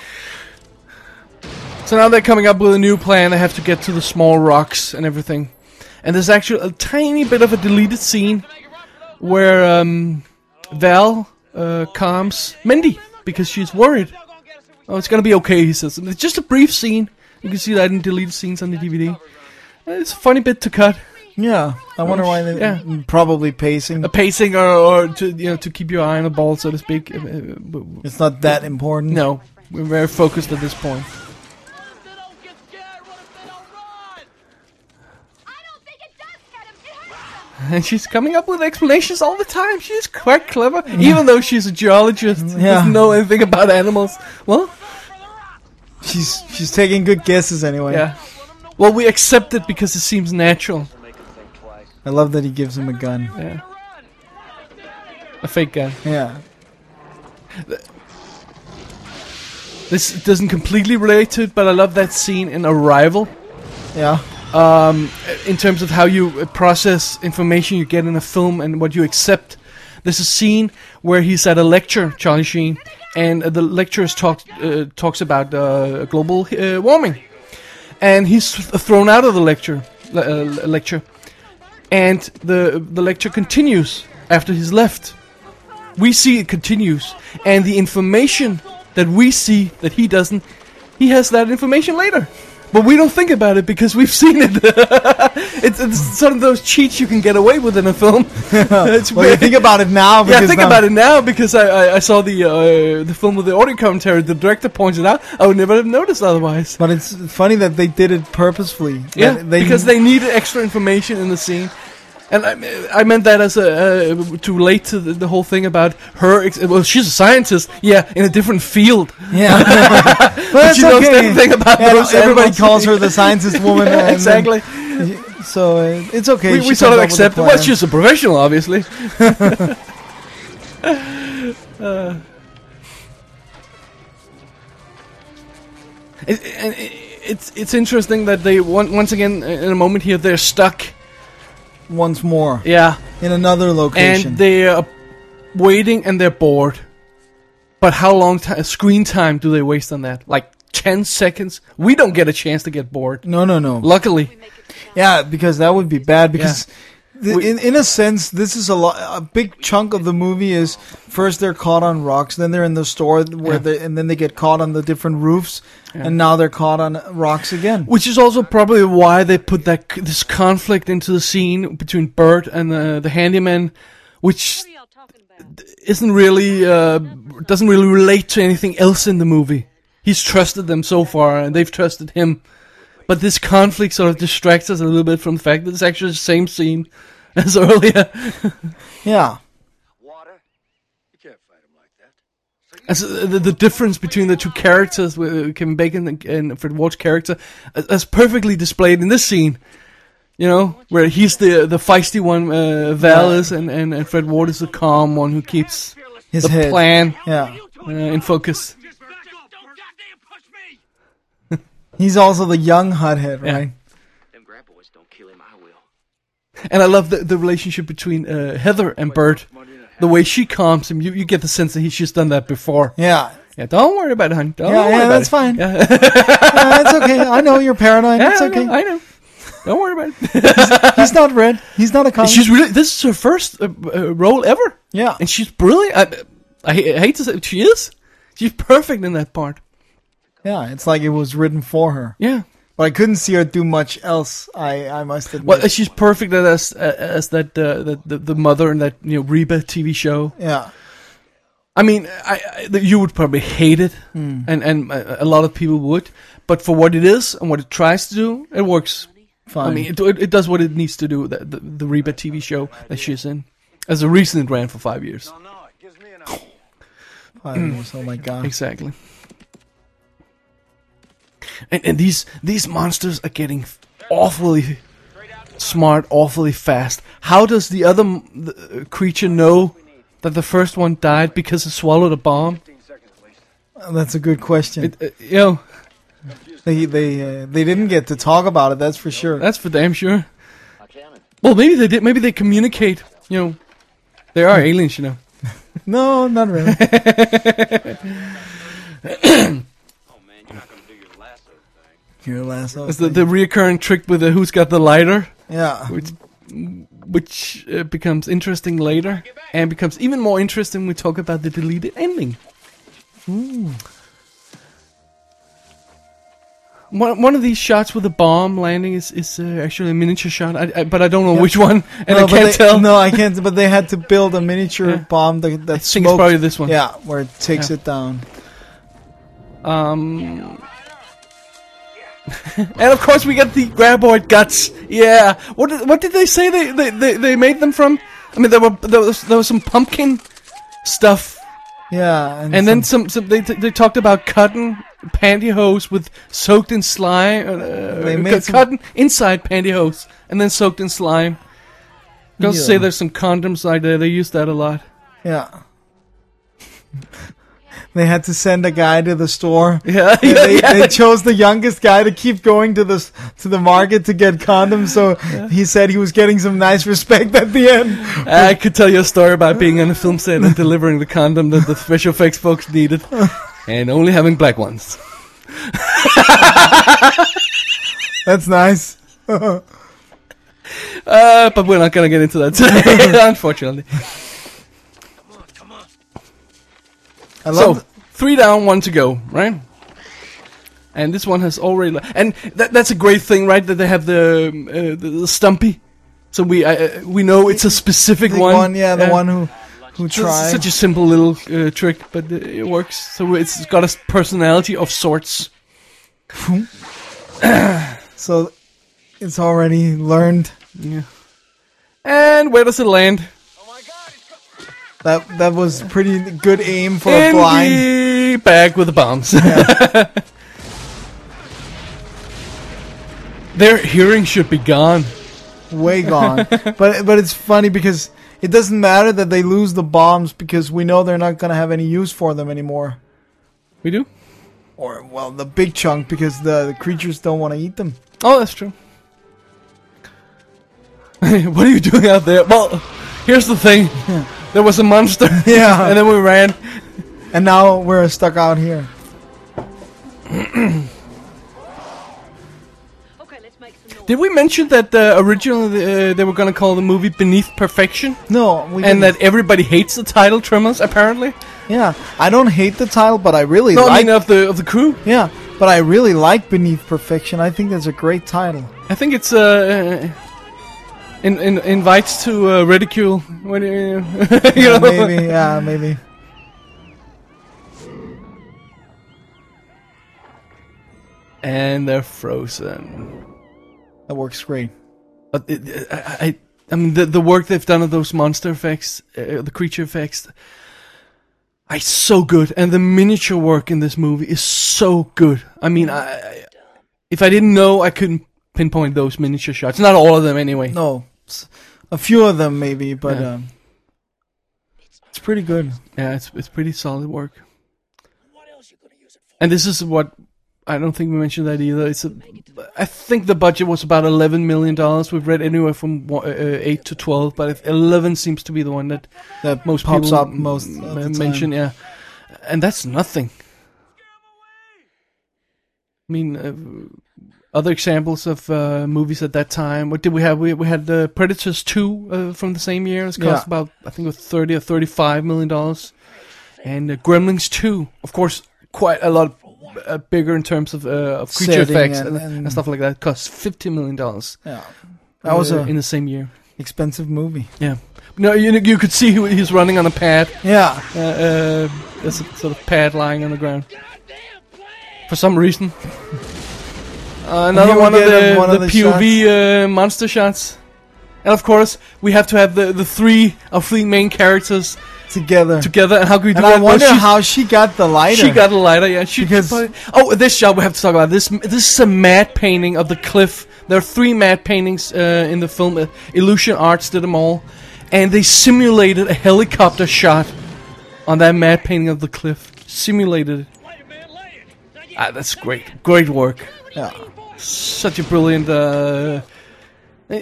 A: So now they're coming up with a new plan. They have to get to the small rocks and everything. And there's actually a tiny bit of a deleted scene where um, Val uh, calms Mindy because she's worried. Oh, it's gonna be okay, he says. And it's just a brief scene. You can see that in deleted scenes on the DVD. Uh, It's a funny bit to cut,
B: Yeah, I wonder why they
A: Yeah.
B: probably pacing.
A: a pacing or, or to you know to keep your eye on the ball, so to speak. Uh, uh, w- w-
B: It's not that important.
A: No, we're very focused at this point.
F: I don't think it does get them. It hurts them.
A: And she's coming up with explanations all the time. She's quite clever, even though she's a geologist.
B: Yeah.
A: Doesn't know anything about animals. Well,
B: She's she's taking good guesses anyway.
A: yeah. Well, we accept it because it seems natural.
B: I love that he gives him a gun.
A: Yeah. A fake gun.
B: Yeah.
A: This doesn't completely relate to it, but I love that scene in Arrival
B: Yeah.
A: in terms of how you uh, process information you get in a film and what you accept. There's a scene where he's at a lecture, Charlie Sheen, and uh, the lecturer talks uh, talks about uh, global uh, warming, and he's th- thrown out of the lecture le- uh, le- lecture, and the the lecture continues after he's left. We see it continues, and the information that we see that he doesn't, he has that information later, but we don't think about it because we've seen it. (laughs) It's, it's sort of those cheats you can get away with in a film. it's
B: (laughs) Well, you
A: weird.
B: think about it
A: (laughs)
B: now.
A: yeah,
B: Because
A: think
B: now-
A: about it now because I, I, I saw the uh, the film with the audio commentary. The director points it out. I would never have noticed otherwise.
B: But it's funny that they did it purposefully.
A: Yeah,
B: That they,
A: because they needed extra information in the scene. And I, me- I meant that as a uh, to relate to the, the whole thing about her. Ex- well, she's a scientist, yeah, in a different field.
B: (laughs) (laughs)
A: (laughs)
B: Yeah. but
A: she knows everything about
B: Yeah,
A: those
B: Everybody
A: animals.
B: calls her the
A: (laughs)
B: scientist woman. and then-
A: exactly.
B: So uh, it's okay.
A: we,
B: she
A: we sort of
B: comes up with a
A: accept. Well,
B: plan.
A: she's a professional, obviously. (laughs) Uh, It, and it, it's it's interesting that they on- once again in a moment here they're stuck.
B: once more
A: Yeah,
B: in another location.
A: and they are waiting and they're bored. But how long ti screen time do they waste on that? Like ten seconds? We don't get a chance to get bored.
B: no, no, no.
A: Luckily,
B: yeah, because that would be bad. Because th-
A: We-
B: in in a sense, this is a lot. A big chunk of the movie is first they're caught on rocks, then they're in the store where
A: Yeah.
B: they and then they get caught on the different roofs, and now they're caught on rocks again.
A: Which is also probably why they put that c- this conflict into the scene between Bert and uh, the handyman, which
F: What are y'all talking about?
A: isn't really uh, doesn't really relate to anything else in the movie. He's trusted them so far, and they've trusted him, but this conflict sort of distracts us a little bit from the fact that it's actually the same scene (laughs) as earlier.
B: Yeah,
G: Water? You can't fight them like that.
A: As, uh, the, the difference between the two characters, with uh, Kevin Bacon and, and Fred Ward's character, as, as perfectly displayed in this scene. You know, where he's the the feisty one, uh, Val is, and, and, and Fred Ward is the calm one who keeps
B: his
A: the
B: head.
A: plan
B: Yeah,
A: uh, in focus.
G: Just back up! Don't goddamn push me!
B: he's also the young hothead, right?
E: Them grab boys don't kill him, I will.
A: And I love the, the relationship between uh, Heather and Bert. The way she calms him, you, you get the sense that he's just done that before.
B: Yeah,
A: Yeah, don't worry about it, honey. Don't
B: yeah,
A: worry
B: yeah.
A: about
B: That's
A: it.
B: fine. yeah, it's
A: (laughs)
B: okay. I know you're paranoid.
A: Yeah, (laughs)
B: it's
A: I know,
B: okay.
A: I know. Don't worry about it.
B: He's not red. He's not a comic.
A: She's really. This is her first uh, uh, role ever.
B: Yeah.
A: and she's brilliant. I, I, ha- I hate to say, she is. She's perfect in that part.
B: Yeah, it's like it was written for her.
A: Yeah.
B: But I couldn't see her do much else. I, I must admit.
A: Well, she's perfect at as as that uh, the, the the mother in that you know Reba TV show.
B: yeah,
A: I mean, I, I that you would probably hate it, and and uh, a a lot of people would. But for what it is and what it tries to do, it works.
B: fine.
A: I mean, it, it, it does what it needs to do. The, the, the Reba TV show that she's in, as a reason it ran for five years.
G: No, it gives me an idea.
B: Five years, oh my god.
A: Exactly. And and these these monsters are getting awfully smart, awfully fast. How does the other m- the, uh, creature know that the first one died because it swallowed a bomb?
B: That's a good question.
A: It, uh, you know,
B: they they uh, they didn't get to talk about it. That's for sure.
A: (laughs) that's for damn sure. Well, maybe they did. Maybe they communicate. You know, they are aliens. You know.
B: no, not really.
E: Oh man, you're not gonna do your lasso thing.
B: Your last.
A: It's the, the reoccurring trick with the who's got the lighter.
B: yeah.
A: which which uh, becomes interesting later and becomes even more interesting when we talk about the deleted ending. Hmm. One, one of these shots with the bomb landing is, is uh, actually a miniature shot, I, I, but I don't know which one, and I
B: but
A: can't
B: they-
A: tell.
B: No, I can't. But they had to build a miniature
A: Yeah.
B: bomb that, that
A: I think it's
B: smokes-
A: probably this one.
B: Yeah, where it takes
A: Yeah.
B: it down.
A: Um, and of course, we got the graboid guts. Yeah. What did, what did they say they, they, they, they made them from? I mean, there were there was, there was some pumpkin stuff
B: Yeah, and,
A: And then some, some they, they talked about cotton pantyhose with soaked in slime. Uh,
B: They
A: they
B: made some-
A: cotton inside pantyhose and then soaked in slime. Don't say
B: Yeah.
A: there's some condoms out there. They use that a
B: (laughs)
A: lot.
B: yeah. They had to send a guy to the store.
A: Yeah, (laughs)
B: They,
A: yeah,
B: they-
A: yeah.
B: they chose the youngest guy to keep going to the s- to the market to get condoms. So he said he was getting some nice respect at the end.
A: I could tell you a story about being on a film set and delivering the condom that the special effects folks needed,
B: (laughs)
A: and only having black ones.
B: That's nice.
A: Uh, but we're not gonna get into that today, (laughs) unfortunately.
B: I
A: So
B: love.
A: three down, one to go, right? And this one has already, li- and that, that's a great thing, right? That they have the um, uh, the, the stumpy, so we uh, uh, we know it's a specific
B: the
A: one.
B: one, yeah, the one who who
A: So it's
B: tried.
A: such a simple little uh, trick, but uh, it works. So it's got a s- personality of sorts.
B: (laughs) so it's already learned.
A: And where does it land?
B: That that was pretty good aim for a
A: In
B: blind.
A: the bag with the bombs. (laughs) Their hearing should be gone.
B: Way gone. but but it's funny because it doesn't matter that they lose the bombs because we know they're not gonna have any use for them anymore.
A: We do?
B: Or well, the big chunk because the, the creatures don't want to eat them.
A: Oh, that's true. (laughs) what are you doing out there? Well, here's the (laughs) thing. There was a (laughs) monster.
B: Yeah.
A: and then we ran.
B: And now we're stuck out here.
F: Okay, let's make some noise.
A: Did we mention that uh, originally uh, they were gonna call the movie Beneath Perfection,
B: No,
A: and
B: we didn't.
A: that everybody hates the title Tremors apparently?
B: yeah. I don't hate the title, but I really
A: No, I
B: like
A: mean of the of the crew.
B: yeah. But I really like Beneath Perfection. I think that's a great title.
A: I think it's uh, in, in invites to uh, ridicule. What do you, (laughs) (laughs) you know?
B: maybe, yeah, maybe.
A: And they're frozen.
B: That works great.
A: But it, it- I, I, I mean, the the work they've done of those monster effects, uh, the creature effects, I so good, and the miniature work in this movie is so good. I mean, I, I if I didn't know, I couldn't pinpoint those miniature shots. Not all of them, anyway.
B: No, s- a few of them maybe, but
A: Yeah.
B: um, it's pretty good.
A: Yeah, it's it's pretty solid work. And this is what I don't think we mentioned that either. It's a, I think the budget was about eleven million dollars. We've read anywhere from one- uh, uh, eight to twelve, but if eleven seems to be the one that
B: That
A: most
B: pops
A: people
B: up most
A: m-
B: of the time.
A: mention. Yeah, and that's nothing. I mean, uh, other examples of uh, movies at that time. What did we have? We we had the Predators two uh, from the same year. It's cost
B: Yeah.
A: about I think it was thirty or thirty five million dollars, and uh, Gremlins two, of course, quite a lot uh, bigger in terms of uh, of creature
B: Setting
A: effects
B: and-
A: and,
B: and-
A: and stuff like that. Cost fifty million dollars.
B: Yeah. That was
A: uh, in
B: an
A: the same year.
B: expensive movie.
A: Yeah. No, you you could see who- he's running on a pad.
B: Yeah.
A: Uh, uh, there's a sort of pad lying on the ground. For some reason. Uh, another
B: here we
A: one of,
B: get,
A: the,
B: um, one
A: the
B: of the
A: POV uh, monster shots. And of course, we have to have the, the three our three main characters
B: Together.
A: together. And how can we do
B: and
A: that?
B: I
A: Well,
B: wonder
A: she's-
B: how she got the lighter.
A: she got a lighter, yeah. She,
B: Because-
A: she probably- oh, this shot we have to talk about. This this is a matte painting of the cliff. There are three matte paintings uh, in the film. Uh, Illusion Arts did them all, and they simulated a helicopter shot on that matte painting of the cliff. Simulated. it. Ah, that's great. Great work.
B: Yeah.
A: Such a brilliant. Uh, uh,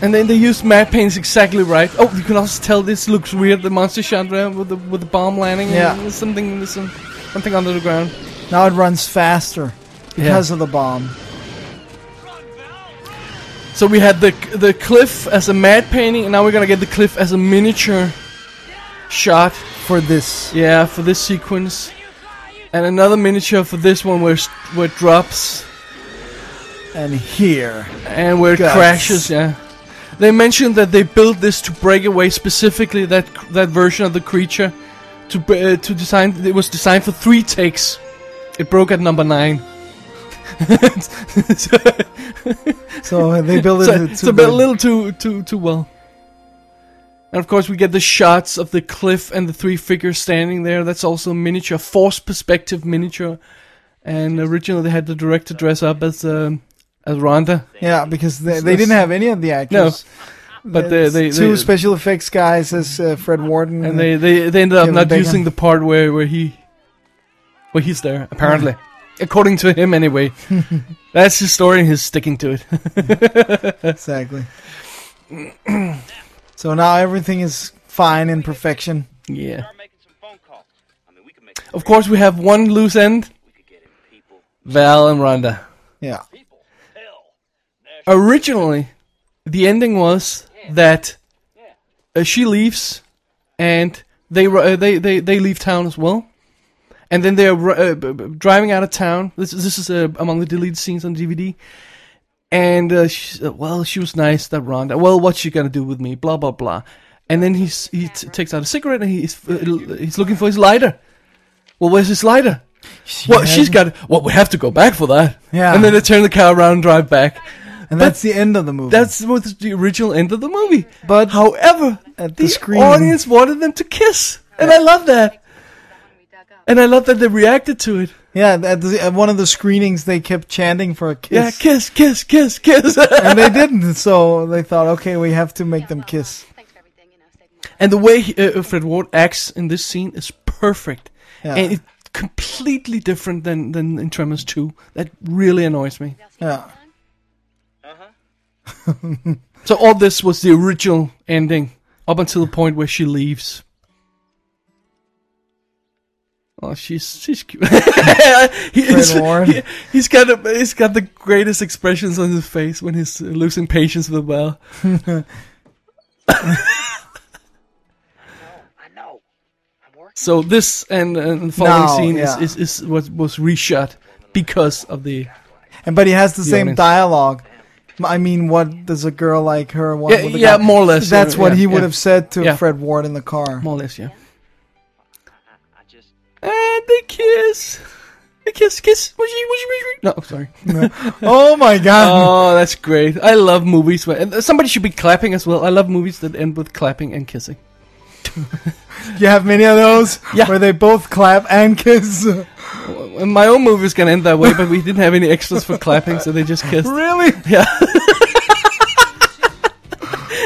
A: and then they used matte paints exactly right. Oh, you can also tell this looks weird. The monster chandra with the with the bomb landing.
B: Yeah.
A: and something some, something under the ground.
B: Now it runs faster because of the bomb.
A: So we had the the cliff as a matte painting, and now we're gonna get the cliff as a miniature shot.
B: For this.
A: Yeah, for this sequence, and another miniature for this one where s- where it drops
B: And here.
A: and where it
B: Guts.
A: crashes. Yeah. They mentioned that they built this to break away specifically that that version of the creature to b- uh, to design. It was designed for three takes. It broke at number nine. (laughs) so
B: So they build it
A: so
B: to
A: it's a bit, a little too too too well. And of course, we get the shots of the cliff and the three figures standing there. That's also miniature, forced perspective miniature. And originally, they had the director dress up as um, as Rhonda,
B: Yeah, because they, they didn't have any of the actors.
A: but they they,
B: Two
A: they
B: special effects guys as uh, Fred Warden.
A: and they, they, they ended up
B: Kevin
A: not
B: Bacon.
A: using the part where, where he where he's there apparently according to him (laughs) anyway that's his story and he's sticking to it (laughs)
B: Exactly. so now everything is fine in perfection.
A: yeah
E: Start making some phone calls. I mean, we can make
A: of course we have one loose end Val and Rhonda
B: Yeah.
A: originally the ending was that uh, she leaves and they, ru- uh, they they they leave town as well and then they're ru- uh, b- b- driving out of town this is, this is uh, among the deleted scenes on DVD and uh, she, said, well she was nice that Rhonda well what's she gonna do with me blah blah blah and then he's, he t- takes out a cigarette and he's uh, l- he's looking for his lighter well where's his lighter well she's got it. well we have to go back for that
B: Yeah.
A: and then they turn the car around and drive back
B: And that's the end of the movie.
A: that's what the original end of the movie.
B: But-
A: however,
B: at the
A: the
B: screen-
A: audience wanted them to kiss, and I love that. And I love that they reacted to it.
B: yeah. At, the, at one of the screenings, they kept chanting for a
A: Yeah, kiss,
B: kiss.
A: kiss, kiss, kiss. (laughs)
B: and they didn't. So they thought, okay, we have to make them kiss.
F: Thanks for everything, you know, saving my
A: and the way he- uh, uh, Fred Ward acts in this scene is perfect,
B: Yeah.
A: and it's completely different than than in Tremors Two. That really annoys me.
B: Yeah.
A: So all this was the original ending up until the point where she leaves. Oh, she's she's (laughs) cute. he, he's,
B: Warren.
A: he, he's got a, he's got the greatest expressions on his face when he's uh, losing patience with Val. so this and, and the following
B: Now,
A: scene
B: yeah.
A: is, is, is what was reshot because of the
B: And but he has the same
A: honest.
B: dialogue. M- I mean, what does a girl like her want?
A: Yeah,
B: with a
A: yeah,
B: guy?
A: more or less,
B: That's
A: yeah,
B: what
A: yeah,
B: he would
A: yeah.
B: have said to
A: Yeah.
B: Fred Ward in the car.
A: more or less yeah.
E: I just
A: And they kiss. They kiss, kiss. Whoosh, whoosh, whoosh, whoosh. No, sorry.
B: oh my god!
A: oh, that's great. I love movies where and somebody should be clapping as well. I love movies that end with clapping and kissing.
B: you have many of those
A: Yeah.
B: where they both clap and kiss. (laughs)
A: And my own movie's gonna end that way, but we didn't have any extras for clapping, so they just
B: (laughs)
A: kissed.
B: Really?
A: Yeah.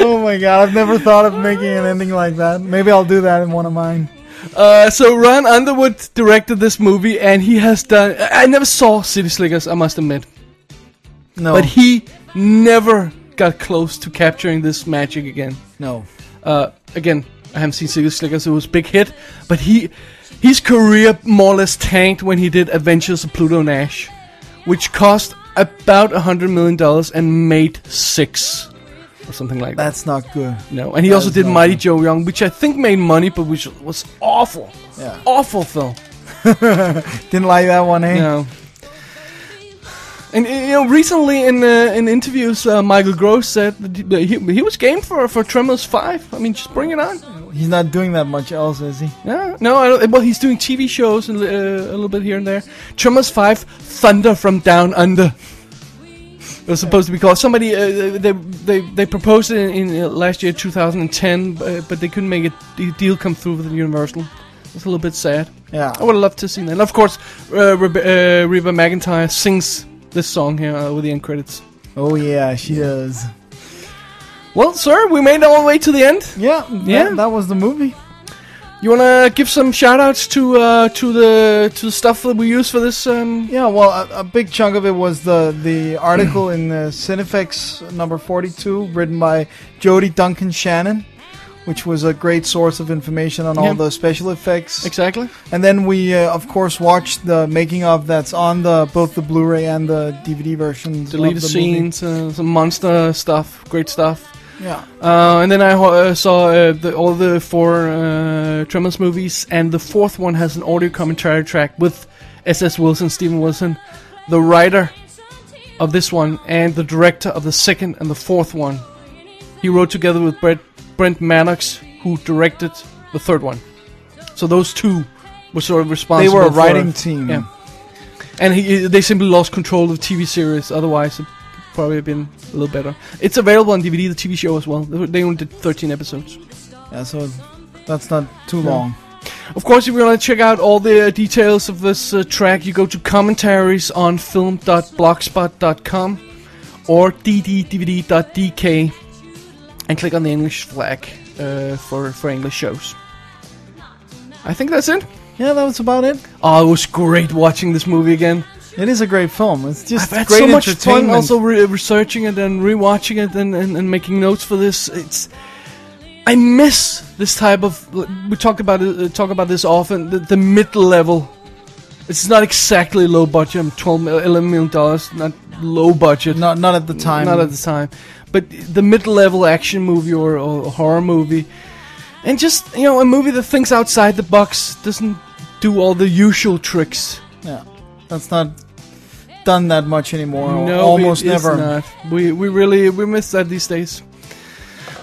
B: oh my god, I've never thought of making an ending like that. Maybe I'll do that in one of mine.
A: Uh, so Ron Underwood directed this movie, and he has done. I I never saw City Slickers, I must admit,
B: No.
A: but he never got close to capturing this magic again.
B: (laughs) no.
A: uh, again, I haven't seen Silver Slickers. It was a big hit, but he his career more or less tanked when he did Adventures of Pluto Nash, which cost about a hundred million dollars and made six or something like that.
B: That's not good.
A: No, and he also
B: is
A: did
B: not
A: Mighty Joe Young, which I think made money, but which was awful,
B: Yeah.
A: awful film.
B: Didn't like that one, eh?
A: No. And uh, you know, recently in uh, in interviews, uh, Michael Gross said that he, he was game for for Tremors Five. I mean, just bring it on.
B: He's not doing that much else, is he?
A: Yeah, no, I don't, well, he's doing TV shows and, uh, a little bit here and there. Tremors 5, Thunder from Down Under. It was supposed to be called. Somebody, uh, they, they, they proposed it in, in uh, last year, 2010, uh, but they couldn't make a d- deal come through with Universal. It's a little bit sad.
B: Yeah.
A: I would have loved to have seen that. And of course, uh, Rebe- uh, Reba McIntyre sings this song here uh, with the end credits.
B: Oh yeah, she does.
A: Well, sir, we made our way to the end.
B: Yeah, yeah.
A: Yeah.
B: That, was the movie.
A: You wanna give some shout outs to uh, to the to the stuff that we use for this um,
B: Yeah, well, a, a big chunk of it was the the article in uh, Cinefix number forty two, written by Jody Duncan Shannon, which was a great source of information on
A: Yeah.
B: all the special effects.
A: Exactly.
B: And then we, uh, of course, watched the making of that's on the both the Blu-ray and the DVD versions.
A: Deleted
B: of the
A: scenes, uh, some monster stuff, great stuff.
B: Movie. Yeah,
A: Uh, and then I ho- uh, saw uh, the, all the four uh, Tremors movies, and the fourth one has an audio commentary track with S.S. Wilson, Stephen Wilson, the writer of this one, and the director of the second and the fourth one. He wrote together with Brett, Brent Mannix, who directed the third one. So those two were sort of
B: they
A: responsible.
B: were a
A: for-
B: writing team.
A: yeah. and he, they simply lost control of the TV series. Otherwise, it probably been a little better. It's available on DVD, the TV show as well. They only did 13 episodes.
B: Yeah, so that's not too long.
A: Of course, if you want to check out all the uh, details of this uh, track, you go to commentaries on film.blogspot.com or dddvd.dk and click on the English flag uh, for, for English shows. I think that's it.
B: Yeah, that was about it.
A: Oh, it was great watching this movie again.
B: It is a great film. It's just
A: I've had
B: great
A: so much fun
B: entertainment.
A: also re- researching it and rewatching it and, and, and making notes for this. It's I miss this type of we talk about it, uh, talk about this often the, the mid level. It's not exactly low budget. I'm 12 mil- 11 million dollars, not low budget.
B: not not at the time.
A: Not at the time, but the mid-level action movie or, or horror movie, and just you know a movie that thinks outside the box doesn't do all the usual tricks.
B: yeah, that's not done that much anymore. or
A: No,
B: almost
A: it is
B: never.
A: not. We we really we miss that these days.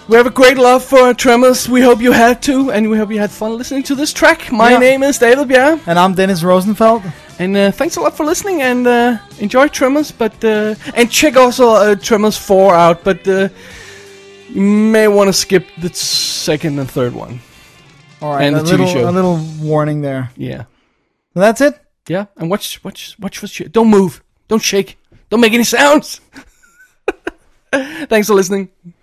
A: We have a great love for Tremors. We hope you had too, and we hope you had fun listening to this track. My
B: Yeah.
A: name is David Bjerre,
B: And I'm Dennis Rosenfeld.
A: and uh, thanks a lot for listening. And uh, enjoy Tremors, but uh, and check also uh, Tremors Four out. But uh, you may want to skip the second and third one.
B: All right,
A: And
B: a
A: the TV
B: little
A: show.
B: a little warning there.
A: Yeah,
B: That's it.
A: yeah. And watch watch watch for shit. Don't move. Don't shake. Don't make any sounds. (laughs) thanks for listening.